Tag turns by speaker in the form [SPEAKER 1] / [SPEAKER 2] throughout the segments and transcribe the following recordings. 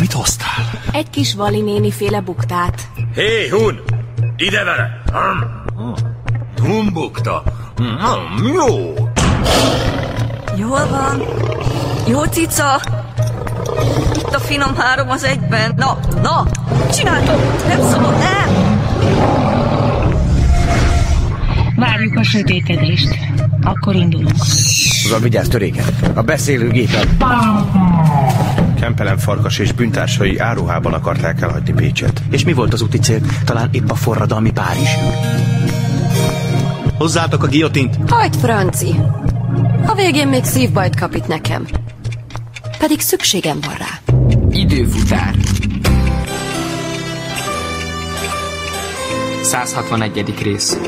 [SPEAKER 1] Mit hoztál?
[SPEAKER 2] Egy kis Vali néni féle buktát.
[SPEAKER 3] Hé, hey, Hun! Ide vele!
[SPEAKER 4] Hm?
[SPEAKER 3] Hun bukta. Mm, Jó!
[SPEAKER 5] Jól van. Jó cica. Itt a finom három az egyben. Na, na, csináltok! Nem szabad, nem!
[SPEAKER 6] Várjuk a sötétedést. Akkor indulunk.
[SPEAKER 7] Zan, vigyázz töréken. A beszélő gépen.
[SPEAKER 8] Kempelen farkas és bűntársai áruhában akarták elhagyni Pécset.
[SPEAKER 1] És mi volt az úti cél? Talán épp a forradalmi Párizs.
[SPEAKER 9] Hozzátok a giotint!
[SPEAKER 10] Hagyd, Franci! A végén még szívbajt kap itt nekem. Pedig szükségem van rá.
[SPEAKER 11] Időfutár. 161. rész.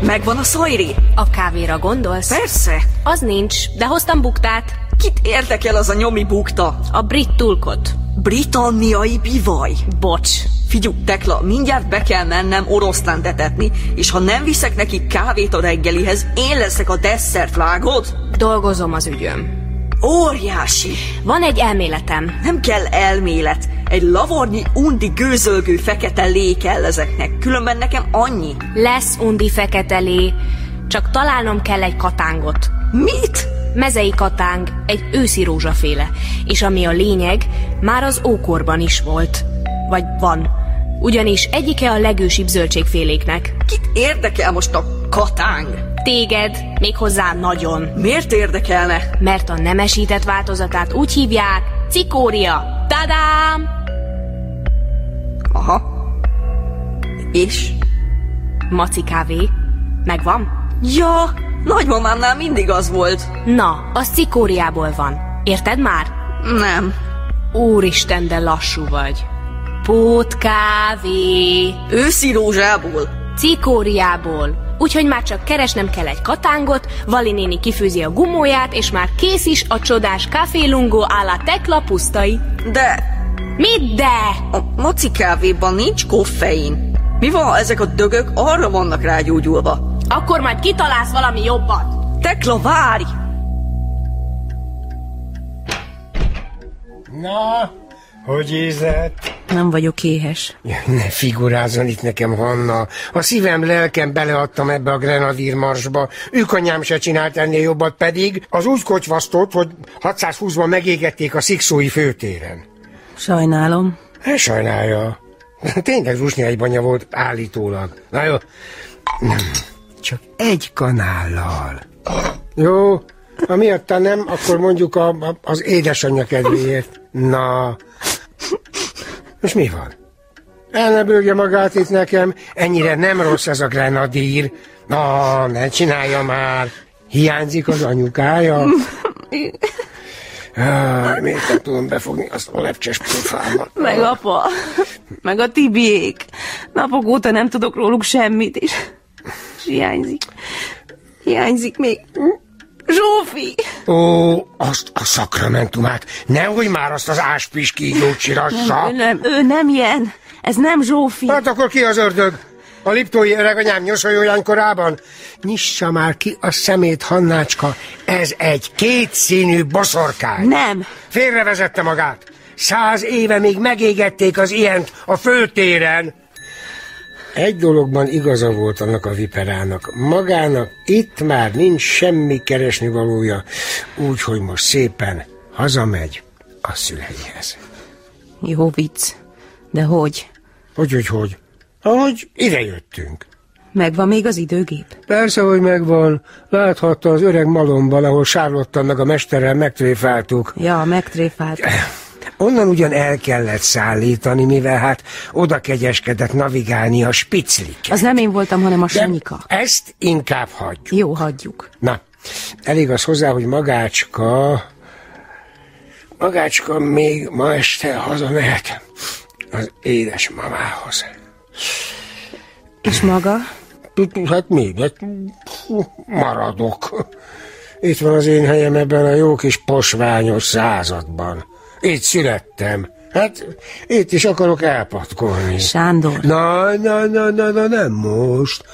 [SPEAKER 5] Megvan a szajri?
[SPEAKER 2] A kávéra gondolsz?
[SPEAKER 5] Persze.
[SPEAKER 2] Az nincs, de hoztam buktát.
[SPEAKER 5] Kit érdekel az a nyomi bukta?
[SPEAKER 2] A brit tulkot.
[SPEAKER 5] Britanniai bivaj.
[SPEAKER 2] Bocs.
[SPEAKER 5] Figyú, Tekla, mindjárt be kell mennem oroszlán tetetni, és ha nem viszek neki kávét a reggelihez, én leszek a desszert, vágod?
[SPEAKER 2] Dolgozom az ügyöm.
[SPEAKER 5] Óriási!
[SPEAKER 2] Van egy elméletem.
[SPEAKER 5] Nem kell elmélet. Egy lavornyi undi gőzölgő fekete lé kell ezeknek, különben nekem annyi.
[SPEAKER 2] Lesz undi fekete lé, csak találnom kell egy katángot.
[SPEAKER 5] Mit?
[SPEAKER 2] Mezei katáng, egy őszi rózsaféle. És ami a lényeg, már az ókorban is volt. Vagy van. Ugyanis egyike a legősibb zöldségféléknek.
[SPEAKER 5] Kit érdekel most a katáng?
[SPEAKER 2] Téged, méghozzá nagyon.
[SPEAKER 5] Miért érdekelne?
[SPEAKER 2] Mert a nemesített változatát úgy hívják cikória. Tadám!
[SPEAKER 5] Aha. És?
[SPEAKER 2] Maci kávé. Megvan?
[SPEAKER 5] Ja, nagymamámnál mindig az volt.
[SPEAKER 2] Na, az cikóriából van. Érted már?
[SPEAKER 5] Nem.
[SPEAKER 2] Úristen, de lassú vagy. Pótkávé.
[SPEAKER 5] Őszi rózsából.
[SPEAKER 2] Cikóriából. Úgyhogy már csak keresnem kell egy katángot, Vali néni kifőzi a gumóját, és már kész is a csodás kafélungó álla tekla pusztai.
[SPEAKER 5] De
[SPEAKER 2] Mit de?
[SPEAKER 5] a maci kávéban nincs koffein. Mi van, ezek a dögök arra vannak rágyúgyulva.
[SPEAKER 2] Akkor majd kitalálsz valami jobbat.
[SPEAKER 5] Tekla, várj!
[SPEAKER 12] Na, hogy ízett?
[SPEAKER 6] Nem vagyok éhes.
[SPEAKER 12] Ne figurázzon itt nekem, Hanna. A szívem, lelkem beleadtam ebbe a grenadír marsba. Őkanyám se csinált ennél jobbat pedig. Az úgy kocsvasztott, hogy 620-ban megégették a szikszói főtéren.
[SPEAKER 6] Sajnálom.
[SPEAKER 12] Ne Hát, sajnálja. Tényleg zsusnyájbanya volt állítólag. Na jó. Csak egy kanállal. Jó, ha miatta nem, akkor mondjuk a, a, az édesanyja kedvéért. Na, most mi van? El ne bőgje magát itt nekem, ennyire nem rossz ez a grenadír. Na, ne csinálja már. Hiányzik az anyukája. Jaj, miért nem tudom befogni azt a lepcses pofámat?
[SPEAKER 6] Meg apa, meg a Tibiék. Napok óta nem tudok róluk semmit, és, és hiányzik. Hiányzik még Zsófi!
[SPEAKER 12] Ó, azt a szakramentumát! Nehogy már azt az áspis kígyót
[SPEAKER 6] Ő
[SPEAKER 12] csirassa!
[SPEAKER 6] nem, ő nem ilyen. Ez nem Zsófi.
[SPEAKER 12] Hát akkor ki az ördög? A liptói öreganyám nyoszoljóján korában? Nyissa már ki a szemét, Hannácska! Ez egy kétszínű boszorkány!
[SPEAKER 6] Nem.
[SPEAKER 12] Félrevezette magát! Száz éve még megégették az ilyent a főtéren! Egy dologban igaza volt annak a viperának. Magának itt már nincs semmi keresni valója, úgyhogy most szépen hazamegy a szüleihez.
[SPEAKER 6] Jó vicc. De hogy?
[SPEAKER 12] Hogy, hogy, hogy? Ahogy idejöttünk.
[SPEAKER 6] Megvan még az időgép?
[SPEAKER 12] Persze, hogy megvan. Láthatta az öreg malomban, ahol Sárlottannak a mesterrel megtréfáltuk. Eh,
[SPEAKER 6] Ja, megtréfált.
[SPEAKER 12] Onnan ugyan el kellett szállítani, mivel hát oda kegyeskedett navigálni a spiclik.
[SPEAKER 6] Az nem én voltam, hanem a
[SPEAKER 12] De
[SPEAKER 6] Sanyika.
[SPEAKER 12] Ezt inkább hagyjuk.
[SPEAKER 6] Jó, hagyjuk.
[SPEAKER 12] Na, elég az hozzá, hogy magácska... Magácska még ma este hazamehet az édes mamához.
[SPEAKER 6] És maga?
[SPEAKER 12] Hát még, hát maradok. Itt van az én helyem ebben a jó kis posványos században. Itt születtem. Hát itt is akarok elpatkolni.
[SPEAKER 6] Sándor.
[SPEAKER 12] Na, na, na, na, na, nem most.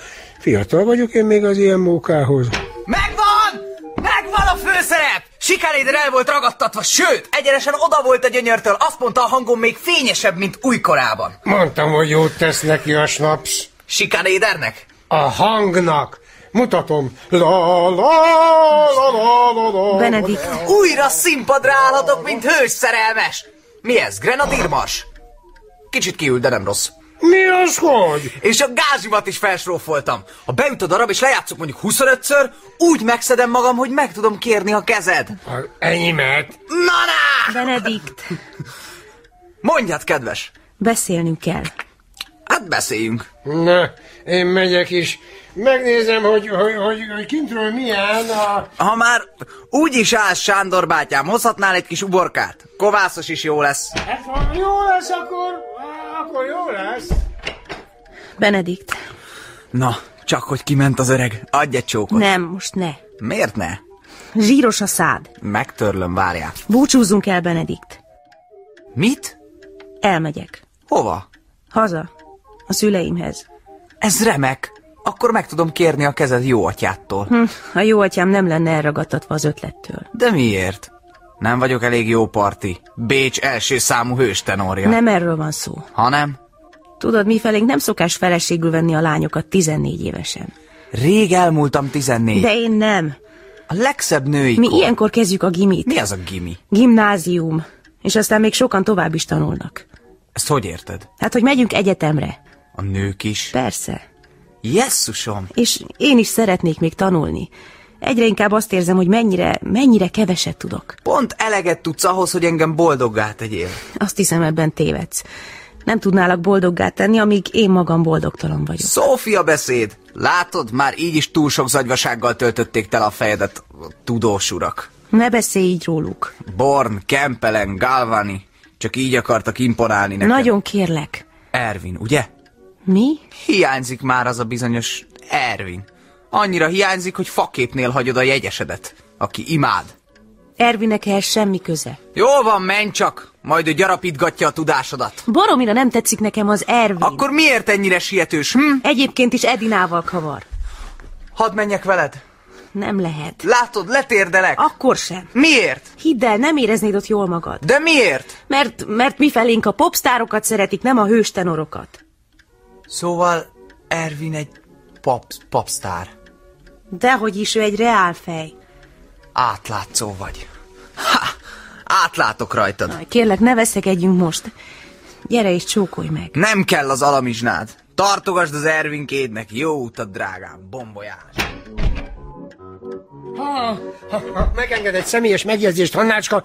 [SPEAKER 12] Fiatal vagyok én még az ilyen mókához.
[SPEAKER 9] Megvan! Megvan a főszerep! Sikerédre el volt ragadtatva, sőt, egyenesen oda volt a gyönyörtől, azt mondta a hangom még fényesebb, mint újkorában.
[SPEAKER 12] Mondtam, hogy jót tesz neki a snaps.
[SPEAKER 9] Sikerédernek?
[SPEAKER 12] A hangnak. Mutatom. La, la, la, la, la, la.
[SPEAKER 9] Újra színpadra állhatok, mint hős szerelmes! Mi ez, grenadírmars? Kicsit kiül, de nem rossz.
[SPEAKER 12] Mi az, hogy?
[SPEAKER 9] És a gázimat is felsrófoltam. Ha beüt a darab és lejátszok mondjuk 25-ször, úgy megszedem magam, hogy meg tudom kérni a kezed.
[SPEAKER 12] Enyémet.
[SPEAKER 9] Na, na!
[SPEAKER 6] Benedikt!
[SPEAKER 9] Mondjad, kedves!
[SPEAKER 6] Beszélnünk kell.
[SPEAKER 9] Hát beszéljünk.
[SPEAKER 12] Na, én megyek is. Megnézem, hogy, hogy, hogy, hogy kintről milyen a...
[SPEAKER 9] Ha már úgy is állsz, Sándor bátyám, hozhatnál egy kis uborkát? Kovászos is jó lesz.
[SPEAKER 12] Hát, ha jó lesz, akkor, á, akkor jó lesz.
[SPEAKER 6] Benedikt.
[SPEAKER 9] Na, csak hogy kiment az öreg. Adj egy csókot.
[SPEAKER 6] Nem, most ne.
[SPEAKER 9] Miért ne?
[SPEAKER 6] Zsíros a szád.
[SPEAKER 9] Megtörlöm, várjál.
[SPEAKER 6] Búcsúzzunk el, Benedikt.
[SPEAKER 9] Mit?
[SPEAKER 6] Elmegyek.
[SPEAKER 9] Hova?
[SPEAKER 6] Haza. A szüleimhez.
[SPEAKER 9] Ez remek. Akkor meg tudom kérni a kezed jó atyától.
[SPEAKER 6] Hm, a jó atyám nem lenne elragadtatva az ötlettől.
[SPEAKER 9] De miért? Nem vagyok elég jó parti. Bécs első számú hős tenorja.
[SPEAKER 6] Nem erről van szó.
[SPEAKER 9] Hanem?
[SPEAKER 6] Tudod, mi felénk nem szokás feleségül venni a lányokat 14 évesen.
[SPEAKER 9] Rég elmúltam 14.
[SPEAKER 6] De én nem.
[SPEAKER 9] A legszebb női
[SPEAKER 6] Mi
[SPEAKER 9] kor.
[SPEAKER 6] ilyenkor kezdjük a gimit.
[SPEAKER 9] Mi az a gimi?
[SPEAKER 6] Gimnázium. És aztán még sokan tovább is tanulnak.
[SPEAKER 9] Ezt hogy érted?
[SPEAKER 6] Hát, hogy megyünk egyetemre.
[SPEAKER 9] A nők is?
[SPEAKER 6] Persze.
[SPEAKER 9] Jesszusom!
[SPEAKER 6] És én is szeretnék még tanulni. Egyre inkább azt érzem, hogy mennyire, mennyire keveset tudok.
[SPEAKER 9] Pont eleget tudsz ahhoz, hogy engem boldoggá tegyél.
[SPEAKER 6] Azt hiszem, ebben tévedsz. Nem tudnálak boldoggá tenni, amíg én magam boldogtalan vagyok.
[SPEAKER 9] Szófia beszéd! Látod, már így is túl sok zagyvasággal töltötték tel a fejedet, a tudós urak.
[SPEAKER 6] Ne beszélj így róluk.
[SPEAKER 9] Born, Kempelen, Galvani, csak így akartak imponálni nekem.
[SPEAKER 6] Nagyon kérlek.
[SPEAKER 9] Ervin, ugye?
[SPEAKER 6] Mi?
[SPEAKER 9] Hiányzik már az a bizonyos Ervin. Annyira hiányzik, hogy faképnél hagyod a jegyesedet, aki imád.
[SPEAKER 6] Ervinek ehhez semmi köze.
[SPEAKER 9] Jó van, menj csak, majd ő gyarapítgatja a tudásodat.
[SPEAKER 6] Baromira nem tetszik nekem az Ervin.
[SPEAKER 9] Akkor miért ennyire sietős, hm?
[SPEAKER 6] Egyébként is Edinával kavar.
[SPEAKER 9] Hadd menjek veled.
[SPEAKER 6] Nem lehet.
[SPEAKER 9] Látod, letérdelek.
[SPEAKER 6] Akkor sem.
[SPEAKER 9] Miért?
[SPEAKER 6] Hidd el, nem éreznéd ott jól magad.
[SPEAKER 9] De miért?
[SPEAKER 6] Mert, mert mi felénk a popstárokat szeretik, nem a hőstenorokat.
[SPEAKER 9] Szóval Ervin egy pop, popstar.
[SPEAKER 6] Dehogy is ő egy reálfej.
[SPEAKER 9] Átlátszó vagy. Ha! Átlátok rajtad.
[SPEAKER 6] Kérlek, ne veszekedjünk most. Gyere és csókolj meg.
[SPEAKER 9] Nem kell az alamizsnád. Tartogasd az Ervinkédnek. Jó utat, drágám. Bombolyás.
[SPEAKER 12] Ha, ha, ha, megenged egy személyes megjegyzést, Hannácska.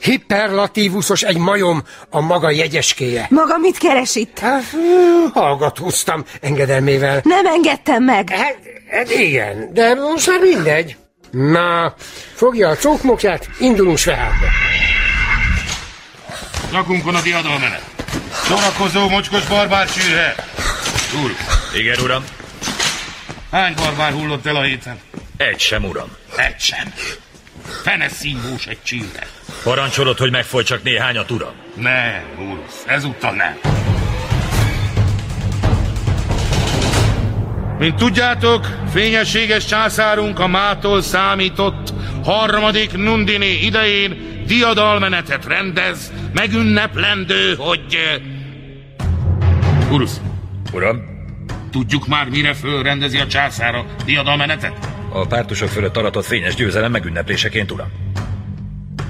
[SPEAKER 12] Hiperlatívusos egy majom a maga jegyeskéje.
[SPEAKER 6] Maga mit keres itt?
[SPEAKER 12] Hát, hallgatóztam engedelmével.
[SPEAKER 6] Nem engedtem meg.
[SPEAKER 12] Hát, hát igen, de most már mindegy. Na, fogja a csókmokját, indulunk Svábba.
[SPEAKER 13] Nyakunkon a diadalmenet. Sorakozó mocskos barbár csűrhe. Úr. Igen, uram. Hány barbár hullott el a héten?
[SPEAKER 4] Egy sem, uram.
[SPEAKER 13] Egy sem. Fene szívós egy csűrhe.
[SPEAKER 4] Parancsolod, hogy megfoly csak néhányat, uram.
[SPEAKER 13] Nem, úr, ezúttal nem. Mint tudjátok, fényességes császárunk a mától számított harmadik Nundiné idején diadalmenetet rendez, megünneplendő, hogy... eh, Urusz.
[SPEAKER 4] Uram,
[SPEAKER 13] Tudjuk már, mire fölrendezi a császár a diadalmenetet?
[SPEAKER 4] a pártusok fölött aratott fényes győzelem megünnepléseként, uram.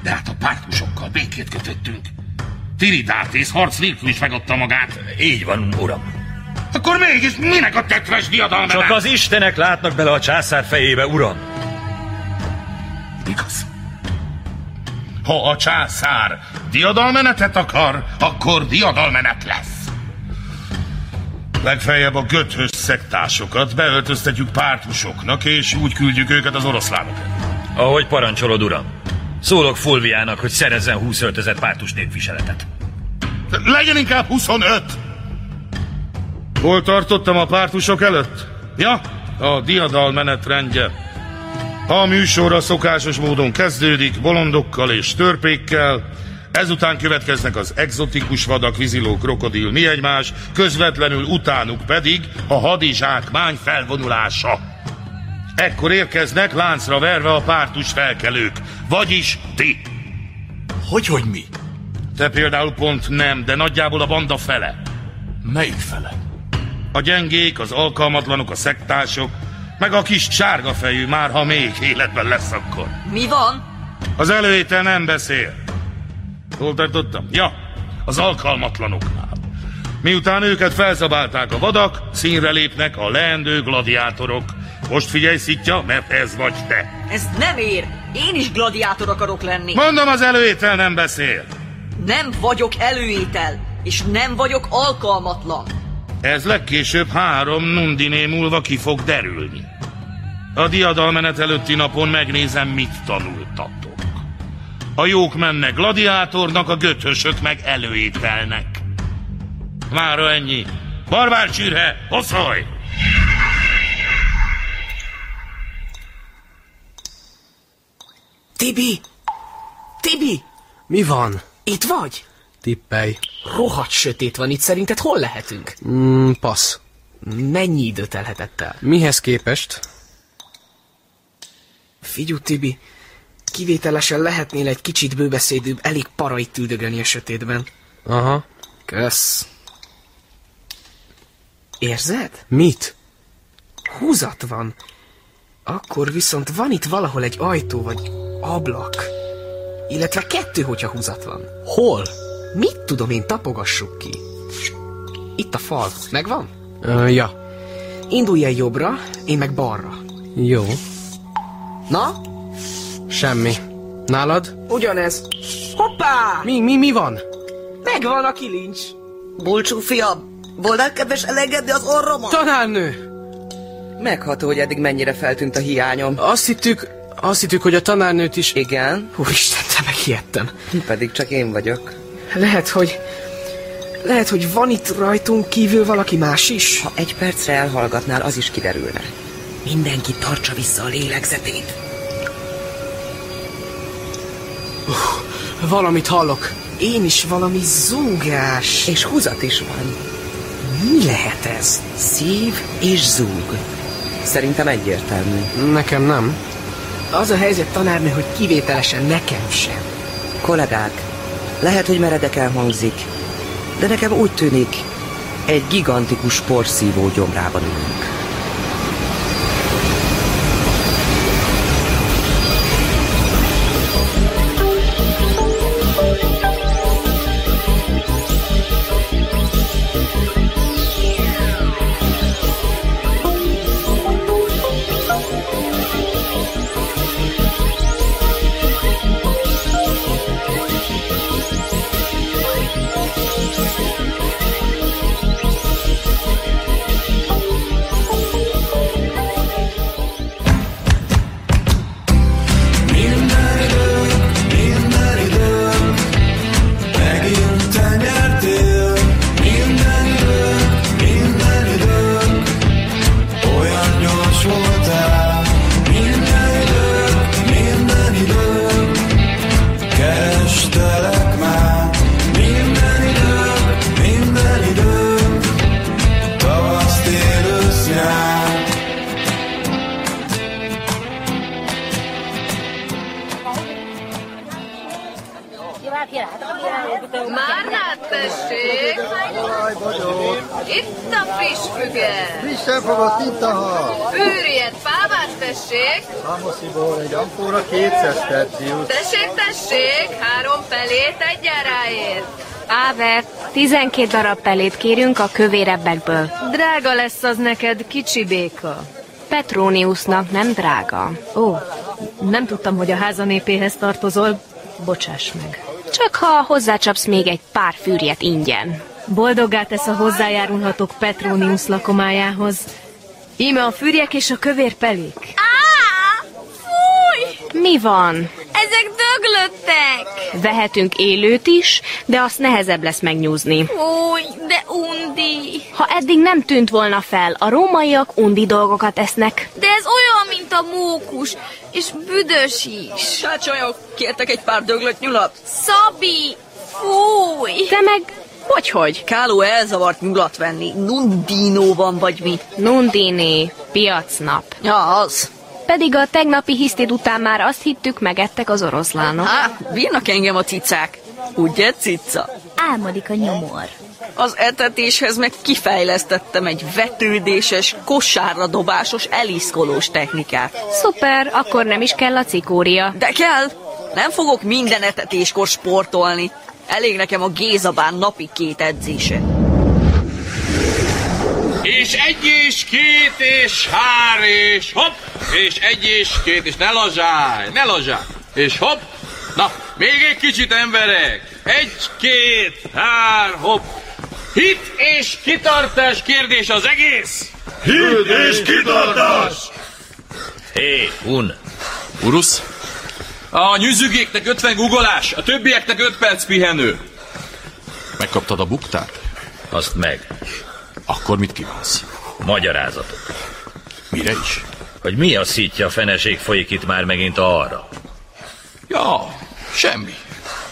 [SPEAKER 13] De hát a pártusokkal békét kötöttünk. Tiridátész harc nélkül is megadta magát.
[SPEAKER 4] Így van, uram.
[SPEAKER 13] Akkor mégis minek a tetves diadalmenet?
[SPEAKER 4] Csak az istenek látnak bele a császár fejébe, uram.
[SPEAKER 13] Igaz. Ha a császár Diadalmenetet akar, akkor diadalmenet lesz. Legfeljebb a göthös szektásokat beöltöztetjük pártusoknak, és úgy küldjük őket az oroszlánok.
[SPEAKER 4] Ahogy parancsolod, uram. Szólok Fulviának, hogy szerezzen 25 ezer pártus népviseletet.
[SPEAKER 13] Legyen inkább 25! Hol tartottam a pártusok előtt? Ja, a diadal menetrendje. A műsor a szokásos módon kezdődik, bolondokkal és törpékkel, ezután következnek az exotikus vadak, viziló, krokodil, mi egymás, közvetlenül utánuk pedig a hadizsákmány felvonulása. Ekkor érkeznek láncra verve a pártus felkelők, vagyis ti. Hogy, hogy mi? Te például pont nem, de nagyjából a banda fele. Melyik fele? A gyengék, az alkalmatlanok, a szektások, meg a kis sárga fejű, már ha még életben lesz akkor.
[SPEAKER 5] Mi van?
[SPEAKER 13] Az előétel nem beszél. Hol tartottam? Ja, az alkalmatlanoknál. Miután őket felzabálták a vadak, színre lépnek a leendő gladiátorok. Most figyelj, szitja, mert ez vagy te.
[SPEAKER 5] Ez nem ér. Én is gladiátor akarok lenni.
[SPEAKER 13] Mondom, az e- előétel nem beszél.
[SPEAKER 5] Nem vagyok előétel, és nem vagyok alkalmatlan.
[SPEAKER 13] Ez legkésőbb három nundiné múlva ki fog derülni. A diadalmenet előtti napon megnézem, mit tanultatok. A jók mennek gladiátornak, a göthösök meg előételnek. Mára ennyi. Barbár csűrhe, oszolj!
[SPEAKER 14] Tibi! Tibi!
[SPEAKER 15] Mi van?
[SPEAKER 14] Itt vagy?
[SPEAKER 15] Tippelj.
[SPEAKER 14] Rohadt sötét van itt, szerinted hol lehetünk?
[SPEAKER 15] Mm, passz.
[SPEAKER 14] Mennyi idő telhetett el?
[SPEAKER 15] Mihez képest?
[SPEAKER 14] Figyú Tibi, kivételesen lehetnél egy kicsit bőbeszédűbb, elég para itt üldögölni a sötétben.
[SPEAKER 15] Aha.
[SPEAKER 14] Kösz. Érzed?
[SPEAKER 15] Mit?
[SPEAKER 14] Húzat van. Akkor viszont van itt valahol egy ajtó vagy ablak. Illetve kettő, hogyha húzat van.
[SPEAKER 15] Hol?
[SPEAKER 14] Mit tudom én, tapogassuk ki. Itt a fal. Megvan?
[SPEAKER 15] Ö, ja.
[SPEAKER 14] Indulj el jobbra, én meg balra.
[SPEAKER 15] Jó.
[SPEAKER 14] Na,
[SPEAKER 15] Semmi. Nálad?
[SPEAKER 14] ugyanez. Hoppá!
[SPEAKER 15] Mi, mi, mi van?
[SPEAKER 14] Megvan a kilincs.
[SPEAKER 16] Bulcsú fiam, volnál kedves elengedni az orromat?
[SPEAKER 15] Tanárnő!
[SPEAKER 16] Megható, hogy eddig mennyire feltűnt a hiányom.
[SPEAKER 15] Azt hittük, azt hittük, hogy a tanárnőt is...
[SPEAKER 16] Igen,
[SPEAKER 14] Úristen, te megijedtem.
[SPEAKER 16] pedig csak én vagyok.
[SPEAKER 14] Lehet, hogy... Lehet, hogy van itt rajtunk kívül valaki más is.
[SPEAKER 16] Ha egy percre elhallgatnál, az is kiderülne. Mindenki tartsa vissza a lélegzetét.
[SPEAKER 15] Valamit hallok.
[SPEAKER 14] Én is valami zúgás.
[SPEAKER 16] És húzat is van.
[SPEAKER 14] Mi lehet ez?
[SPEAKER 16] Hát Szív és zúg. Szerintem egyértelmű.
[SPEAKER 15] Nekem nem.
[SPEAKER 14] Az a helyzet, tanárnő, hogy kivételesen nekem sem.
[SPEAKER 16] Kollégák, lehet, hogy meredeken hangzik, de nekem úgy tűnik, egy gigantikus porszívó gyomrában ülünk.
[SPEAKER 5] Márnát tessék! Itt a friss füge!
[SPEAKER 17] Frissen fogott itt a hal.
[SPEAKER 5] Őriet pávát tessék!
[SPEAKER 17] Számosziból egy ampóra 200 perciut.
[SPEAKER 5] Tessék, tessék! Három pelét egy áráért!
[SPEAKER 2] Áver, 12 darab pelét kérünk a kövérebbekből.
[SPEAKER 6] Drága lesz az neked, kicsi béka.
[SPEAKER 2] Petróniusnak nem drága.
[SPEAKER 6] Ó, nem tudtam, hogy a háza népéhez tartozol. Bocsáss meg.
[SPEAKER 2] Csak ha hozzácsapsz még egy pár fűrjet ingyen.
[SPEAKER 18] Boldoggá tesz a hozzájárulhatók Petronius lakomájához. Íme a fűrjek és a kövér pelék.
[SPEAKER 19] Á! Fúj!
[SPEAKER 2] Mi van?
[SPEAKER 19] Ezek döglöttek!
[SPEAKER 2] Vehetünk élőt is, de azt nehezebb lesz megnyúzni.
[SPEAKER 19] Fúj, de undi!
[SPEAKER 2] Ha eddig nem tűnt volna fel, a rómaiak undi dolgokat esznek.
[SPEAKER 19] De ez olyan, mint a mókus, és büdös is.
[SPEAKER 5] Sácsajok, kértek egy pár döglött nyulat?
[SPEAKER 19] Szabi! Fúj!
[SPEAKER 2] Te meg hogy hogy?
[SPEAKER 5] Káló elzavart nyulat venni. Nundinóban vagy mi?
[SPEAKER 2] Nundini, piacnap.
[SPEAKER 5] Ja, az.
[SPEAKER 2] Pedig a tegnapi hisztéd után már azt hittük, megettek az oroszlánok.
[SPEAKER 5] Á, Hát, bírnak engem a cicák. Ugye, cica?
[SPEAKER 19] Álmodik a nyomor.
[SPEAKER 5] Az etetéshez meg kifejlesztettem egy vetődéses, kosárra dobásos, eliszkolós technikát.
[SPEAKER 2] Szuper, akkor nem is kell a cikória.
[SPEAKER 5] De kell! Nem fogok minden etetéskor sportolni. Elég nekem a Gézabán napi két edzése.
[SPEAKER 20] És egy és két és hár és hopp, és egy és két és ne lazsálj, ne lazsálj, és hopp, na, még egy kicsit emberek, egy, két, hár, hopp, hit és kitartás kérdés az egész.
[SPEAKER 3] Hit és kitartás!
[SPEAKER 20] Hé, un. Urusz? A nyüzügéknek 50 guggolás, a többieknek 5 perc pihenő.
[SPEAKER 21] Megkaptad a buktát?
[SPEAKER 4] Azt meg.
[SPEAKER 21] Akkor mit kívánsz?
[SPEAKER 4] Magyarázatot.
[SPEAKER 21] Mire is?
[SPEAKER 4] Hogy mi a szítja a feneség folyik itt már megint arra?
[SPEAKER 21] Ja, semmi.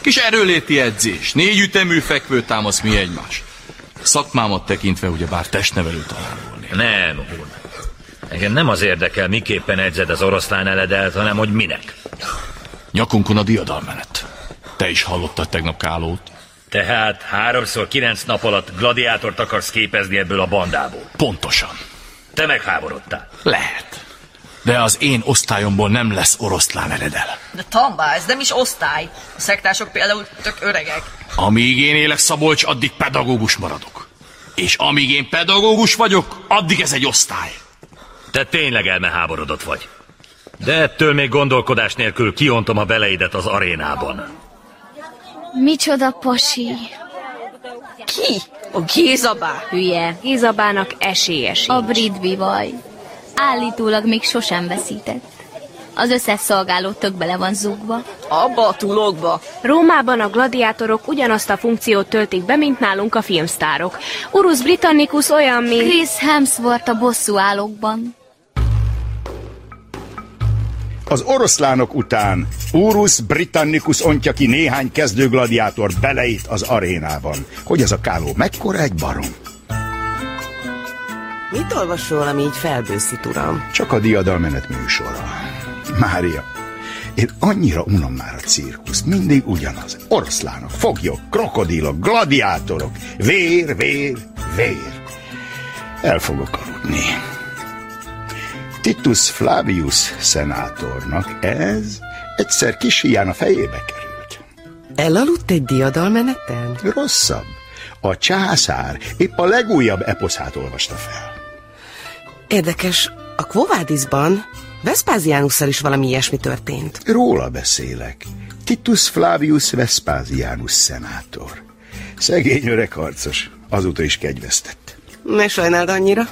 [SPEAKER 21] Kis erőléti edzés, négy ütemű fekvő támasz mi egymás. Szakmámat tekintve ugyebár testnevelő tanár volnék.
[SPEAKER 4] Nem, úr. Engem nem az érdekel, miképpen edzed az oroszlán eledelt, hanem hogy minek.
[SPEAKER 21] Nyakunkon a diadalmenet. Te is hallottad tegnap Kálót.
[SPEAKER 4] Tehát háromszor kilenc nap alatt gladiátort akarsz képezni ebből a bandából.
[SPEAKER 21] Pontosan.
[SPEAKER 4] Te megháborodtál.
[SPEAKER 21] Lehet. De az én osztályomból nem lesz oroszlán eredel.
[SPEAKER 5] De Tamba, ez nem is osztály. A szektások például tök öregek.
[SPEAKER 21] Amíg én élek Szabolcs, addig pedagógus maradok. És amíg én pedagógus vagyok, addig ez egy osztály.
[SPEAKER 4] Te tényleg elmeháborodott vagy. De ettől még gondolkodás nélkül kiontom a beleidet az arénában.
[SPEAKER 19] Micsoda pasi.
[SPEAKER 5] Ki? A Gézabá?
[SPEAKER 2] Hülye, Gézabának esélyes
[SPEAKER 19] A brit bivaj. Állítólag még sosem veszített. Az összes szolgáló tök bele van zúgva.
[SPEAKER 5] Abba a tulokba.
[SPEAKER 2] Rómában a gladiátorok ugyanazt a funkciót töltik be, mint nálunk a filmsztárok. Urus Britannicus olyan, mint...
[SPEAKER 19] Chris Hemsworth a bosszú állókban.
[SPEAKER 22] Az oroszlánok után Úrusz Britannicus ontja ki néhány kezdő gladiátor beleit az arénában. Hogy ez a káló mekkora egy barom?
[SPEAKER 16] Mit olvas rólam így felbőszít, uram?
[SPEAKER 22] Csak a diadalmenet műsora. Mária, én annyira unom már a cirkusz, mindig ugyanaz. Oroszlánok, foglyok, krokodilok, gladiátorok, vér, vér, vér. El fogok aludni. Titus Flavius szenátornak ez egyszer kis hián a fejébe került.
[SPEAKER 16] Elaludt egy diadalmeneten?
[SPEAKER 22] Rosszabb. A császár épp a legújabb eposzát olvasta fel.
[SPEAKER 16] Érdekes, a Kvovádisban Vespáziánusszal is valami ilyesmi történt.
[SPEAKER 22] Róla beszélek. Titus Flavius Vespázianus szenátor. Szegény öreg harcos. Azóta is kegyvesztett.
[SPEAKER 16] Ne sajnáld annyira.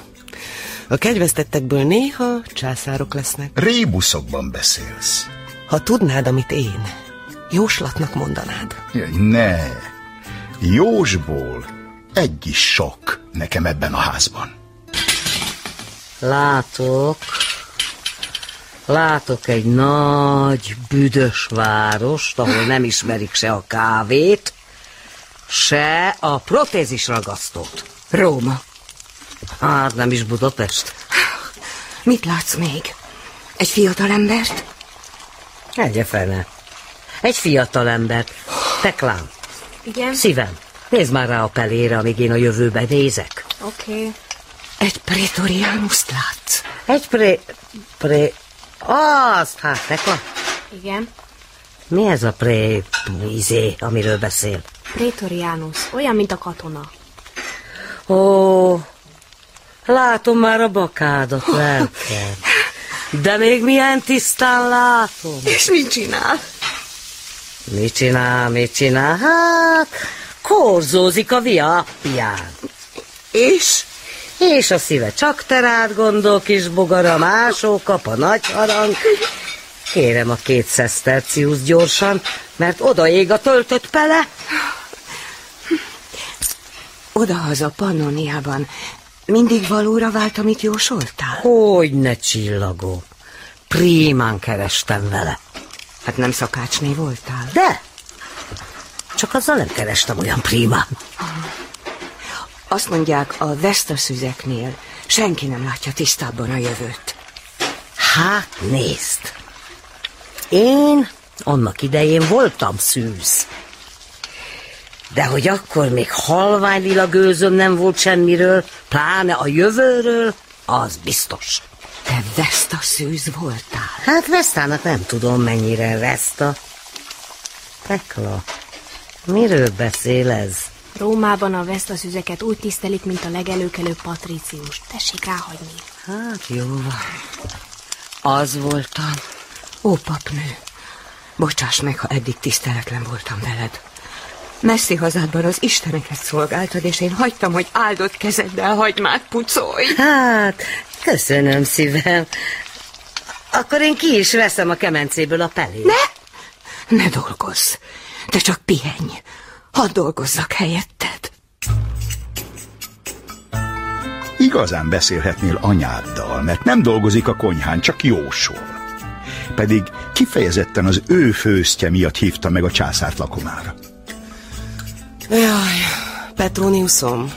[SPEAKER 16] A kegyvesztettekből néha császárok lesznek.
[SPEAKER 22] Rébuszokban beszélsz.
[SPEAKER 16] Ha tudnád, amit én, jóslatnak mondanád.
[SPEAKER 22] Jaj, Ne! Jósból egy is sok nekem ebben a házban.
[SPEAKER 23] Látok, látok egy nagy, büdös várost, ahol nem ismerik se a kávét, se a protézis ragasztót.
[SPEAKER 24] Róma.
[SPEAKER 23] Hát nem is Budapest.
[SPEAKER 24] Mit látsz még? Egy fiatal embert?
[SPEAKER 23] Egye fene. Egy fiatal embert. Teklám,
[SPEAKER 24] Igen.
[SPEAKER 23] szívem, nézd már rá a pelére, amíg én a jövőbe nézek.
[SPEAKER 24] Oké. Okay. Egy pretoriánuszt látsz?
[SPEAKER 23] Egy pré... pré... Azt, hát, Tekla,
[SPEAKER 24] Igen.
[SPEAKER 23] mi ez a pré... izé, amiről beszél?
[SPEAKER 2] Prétoriánus, olyan, mint a katona.
[SPEAKER 23] Ó, látom már a bakádat, lelkem. De még milyen tisztán látom.
[SPEAKER 24] És mit csinál?
[SPEAKER 23] Mit csinál, mit csinál? Hát, korzózik a viapján. És? És a szíve csak terát gondol, kis bogara, másó kap a nagy harang. Kérem a két szeszterciusz gyorsan, mert odaég a töltött pele.
[SPEAKER 24] Odahaza Pannoniában mindig valóra vált, amit jósoltál?
[SPEAKER 23] Hogy ne csillagó. Prímán kerestem vele.
[SPEAKER 24] Hát nem szakácsné voltál?
[SPEAKER 23] De! Csak azzal nem kerestem olyan prímán.
[SPEAKER 24] Azt mondják, a vesztaszüzeknél senki nem látja tisztábban a jövőt.
[SPEAKER 23] Hát nézd! Én annak idején voltam szűz. De hogy akkor még halvány lila gőzöm nem volt semmiről, pláne a jövőről, az biztos.
[SPEAKER 24] Te Veszta szűz voltál?
[SPEAKER 23] Hát Vesztának nem tudom mennyire Veszta. Tekla, miről beszél ez?
[SPEAKER 2] Rómában a vesztaszüzeket úgy tisztelik, mint a legelőkelő patrícius. Tessék ráhagyni.
[SPEAKER 23] Hát
[SPEAKER 24] Jó van. Az voltam. Ó, papnő, bocsáss meg, ha eddig tiszteletlen voltam veled. Messzi hazádban az isteneket szolgáltad, és én hagytam, hogy áldott kezeddel hagymát pucolj.
[SPEAKER 23] Hát, köszönöm szívem. Akkor én ki is veszem a kemencéből a pelét.
[SPEAKER 24] Ne! Ne dolgozz, de csak pihenj. Hadd dolgozzak helyetted.
[SPEAKER 22] Igazán beszélhetnél anyáddal, mert nem dolgozik a konyhán, csak jósol. Pedig kifejezetten az ő főztje miatt hívta meg a császárt lakomára.
[SPEAKER 14] Jaj, Petroniusom,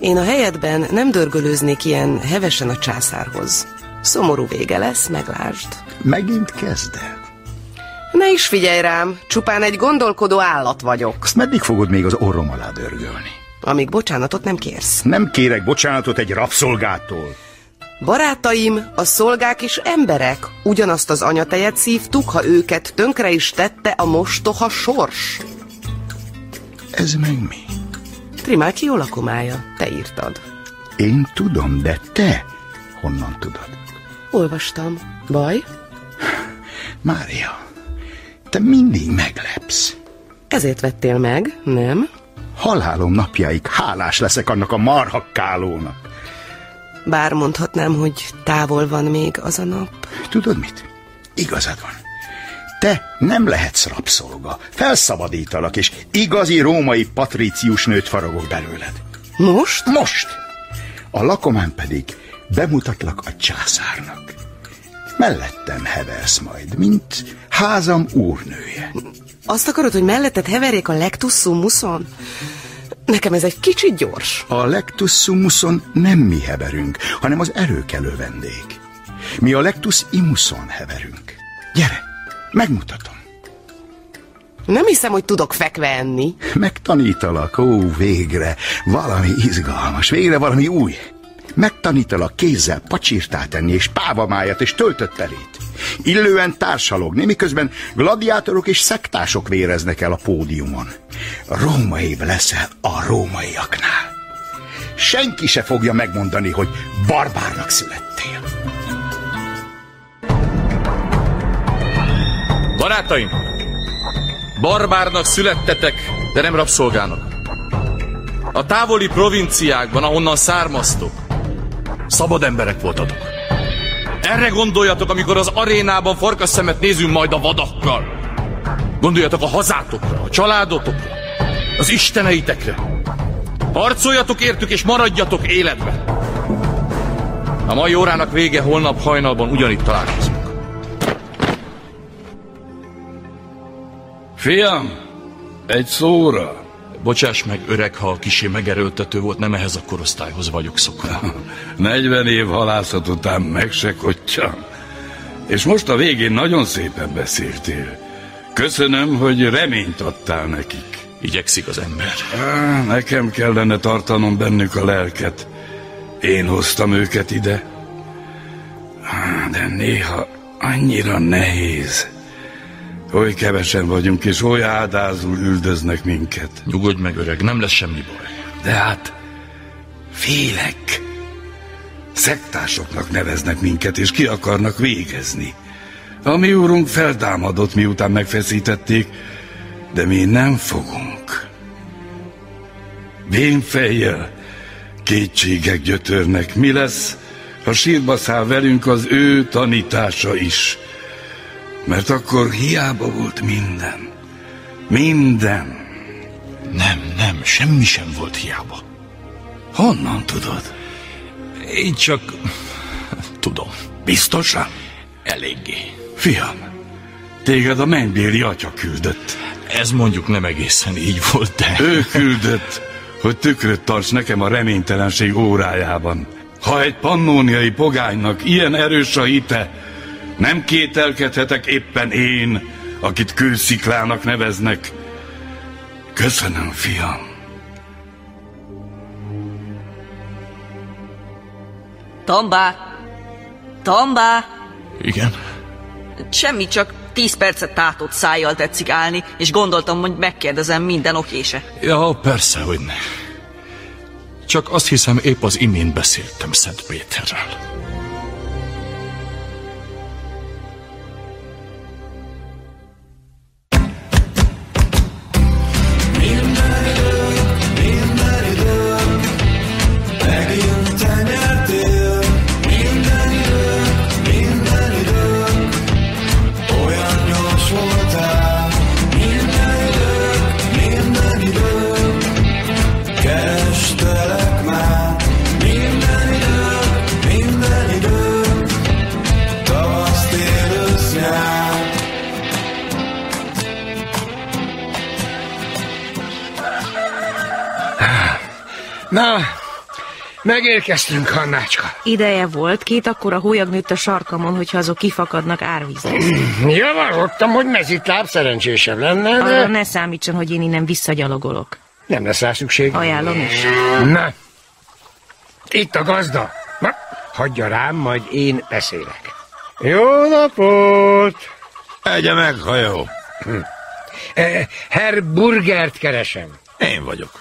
[SPEAKER 14] én a helyedben nem dörgölőznék ilyen hevesen a császárhoz. Szomorú vége lesz, meglásd.
[SPEAKER 22] Megint kezded.
[SPEAKER 14] Ne is figyelj rám, csupán egy gondolkodó állat vagyok.
[SPEAKER 22] Ezt meddig fogod még az orrom alá dörgölni?
[SPEAKER 14] Amíg bocsánatot nem kérsz.
[SPEAKER 22] Nem kérek bocsánatot egy rabszolgától.
[SPEAKER 14] Barátaim, a szolgák is emberek. Ugyanazt az anyatejet szívtuk, ha őket tönkre is tette a mostoha sors.
[SPEAKER 22] Ez meg mi?
[SPEAKER 14] Trimáció lakomája, te írtad.
[SPEAKER 22] Én tudom, de te honnan tudod?
[SPEAKER 14] Olvastam. Baj?
[SPEAKER 22] Mária, te mindig meglepsz.
[SPEAKER 14] Ezért vettél meg, nem?
[SPEAKER 22] Halálom napjáig hálás leszek annak a marha kálónak.
[SPEAKER 14] Bár mondhatnám, hogy távol van még az a nap.
[SPEAKER 22] Tudod mit? Igazad van. Te nem lehetsz rabszolga. Felszabadítalak, és igazi római patrícius nőt faragok belőled.
[SPEAKER 14] Most?
[SPEAKER 22] Most! A lakomán pedig bemutatlak a császárnak. Mellettem heversz majd, mint házam úrnője.
[SPEAKER 14] Azt akarod, hogy melletted heverjék a legtusszumuszon? Nekem ez egy kicsit gyors.
[SPEAKER 22] A Lectus Summuson nem mi heverünk, hanem az erőkelő vendég. Mi a Lectus Immuson heverünk. Gyere, megmutatom.
[SPEAKER 14] Nem hiszem, hogy tudok fekve enni.
[SPEAKER 22] Megtanítalak, ó, végre, valami izgalmas, végre valami új. Megtanítalak kézzel pacsirtát tenni, és pávamájat, és töltött pelét. Illően társalogni, miközben gladiátorok és szektások véreznek el a pódiumon. Rómaibb leszel a rómaiaknál. Senki se fogja megmondani, hogy barbárnak születtél.
[SPEAKER 21] Barátaim! Barbárnak születtetek, de nem rabszolgának. A távoli provinciákban, ahonnan származtok, szabad emberek voltatok. Erre gondoljatok, amikor az arénában farkas szemet nézünk majd a vadakkal. Gondoljatok a hazátokra, a családotokra, az isteneitekre. Harcoljatok értük és maradjatok életben. A mai órának vége holnap hajnalban ugyanitt találkozunk.
[SPEAKER 20] Fiam, egy szóra.
[SPEAKER 21] Bocsáss meg, öreg, ha kisé megerőltető volt, nem ehhez a korosztályhoz vagyok szokva.
[SPEAKER 20] 40 év halászat után meg se kottyam. És most a végén nagyon szépen beszéltél. Köszönöm, hogy reményt adtál nekik.
[SPEAKER 21] Igyekszik az ember.
[SPEAKER 20] Á, nekem kellene tartanom bennük a lelket. Én hoztam őket ide. Á, De néha annyira nehéz. Oly kevesen vagyunk, és oly áldázul üldöznek minket.
[SPEAKER 21] Nyugodj meg, öreg, nem lesz semmi baj.
[SPEAKER 20] De hát félek. Szektásoknak neveznek minket, és ki akarnak végezni. A mi úrunk feltámadott, miután megfeszítették, de mi nem fogunk. Vénfejjel kétségek gyötörnek. Mi lesz, ha sírba száll velünk az ő tanítása is? Mert akkor hiába volt minden. Minden.
[SPEAKER 1] Nem, nem, semmi sem volt hiába.
[SPEAKER 20] Honnan tudod?
[SPEAKER 1] Én csak... tudom.
[SPEAKER 20] Biztosan?
[SPEAKER 1] Eléggé.
[SPEAKER 20] Fiam, téged a mennybéli atya küldött.
[SPEAKER 1] Ez mondjuk nem egészen így volt, de...
[SPEAKER 20] Ő küldött, hogy tükröt tarts nekem a reménytelenség órájában. Ha egy pannóniai pogánynak ilyen erős a hite, nem kételkedhetek éppen én, akit kősziklának neveznek. Köszönöm, fiam.
[SPEAKER 5] Tombá! Tombá!
[SPEAKER 1] Igen?
[SPEAKER 5] Semmi, csak tíz percet tátott szájjal tetszik állni, és gondoltam, hogy megkérdezem minden okése.
[SPEAKER 1] Ja, persze, hogy ne. Csak azt hiszem, épp az imént beszéltem Szent Péterrel.
[SPEAKER 12] Na, megérkeztünk, Hannácska.
[SPEAKER 6] Ideje volt, két akkora hólyag nőtt a sarkamon, hogyha azok kifakadnak árvízre.
[SPEAKER 12] Javarodtam, hogy mezitláb szerencsésebb lenne,
[SPEAKER 6] Arra
[SPEAKER 12] de
[SPEAKER 6] ne számítson, hogy én innen visszagyalogolok.
[SPEAKER 12] nem lesz rá szükség.
[SPEAKER 6] Ajánlom is.
[SPEAKER 12] Na, itt a gazda. Na, hagyja rám, majd én beszélek. Jó napot!
[SPEAKER 1] Egye meg, hajó!
[SPEAKER 12] Hm. Eh, Herr Burgert keresem.
[SPEAKER 1] Én vagyok.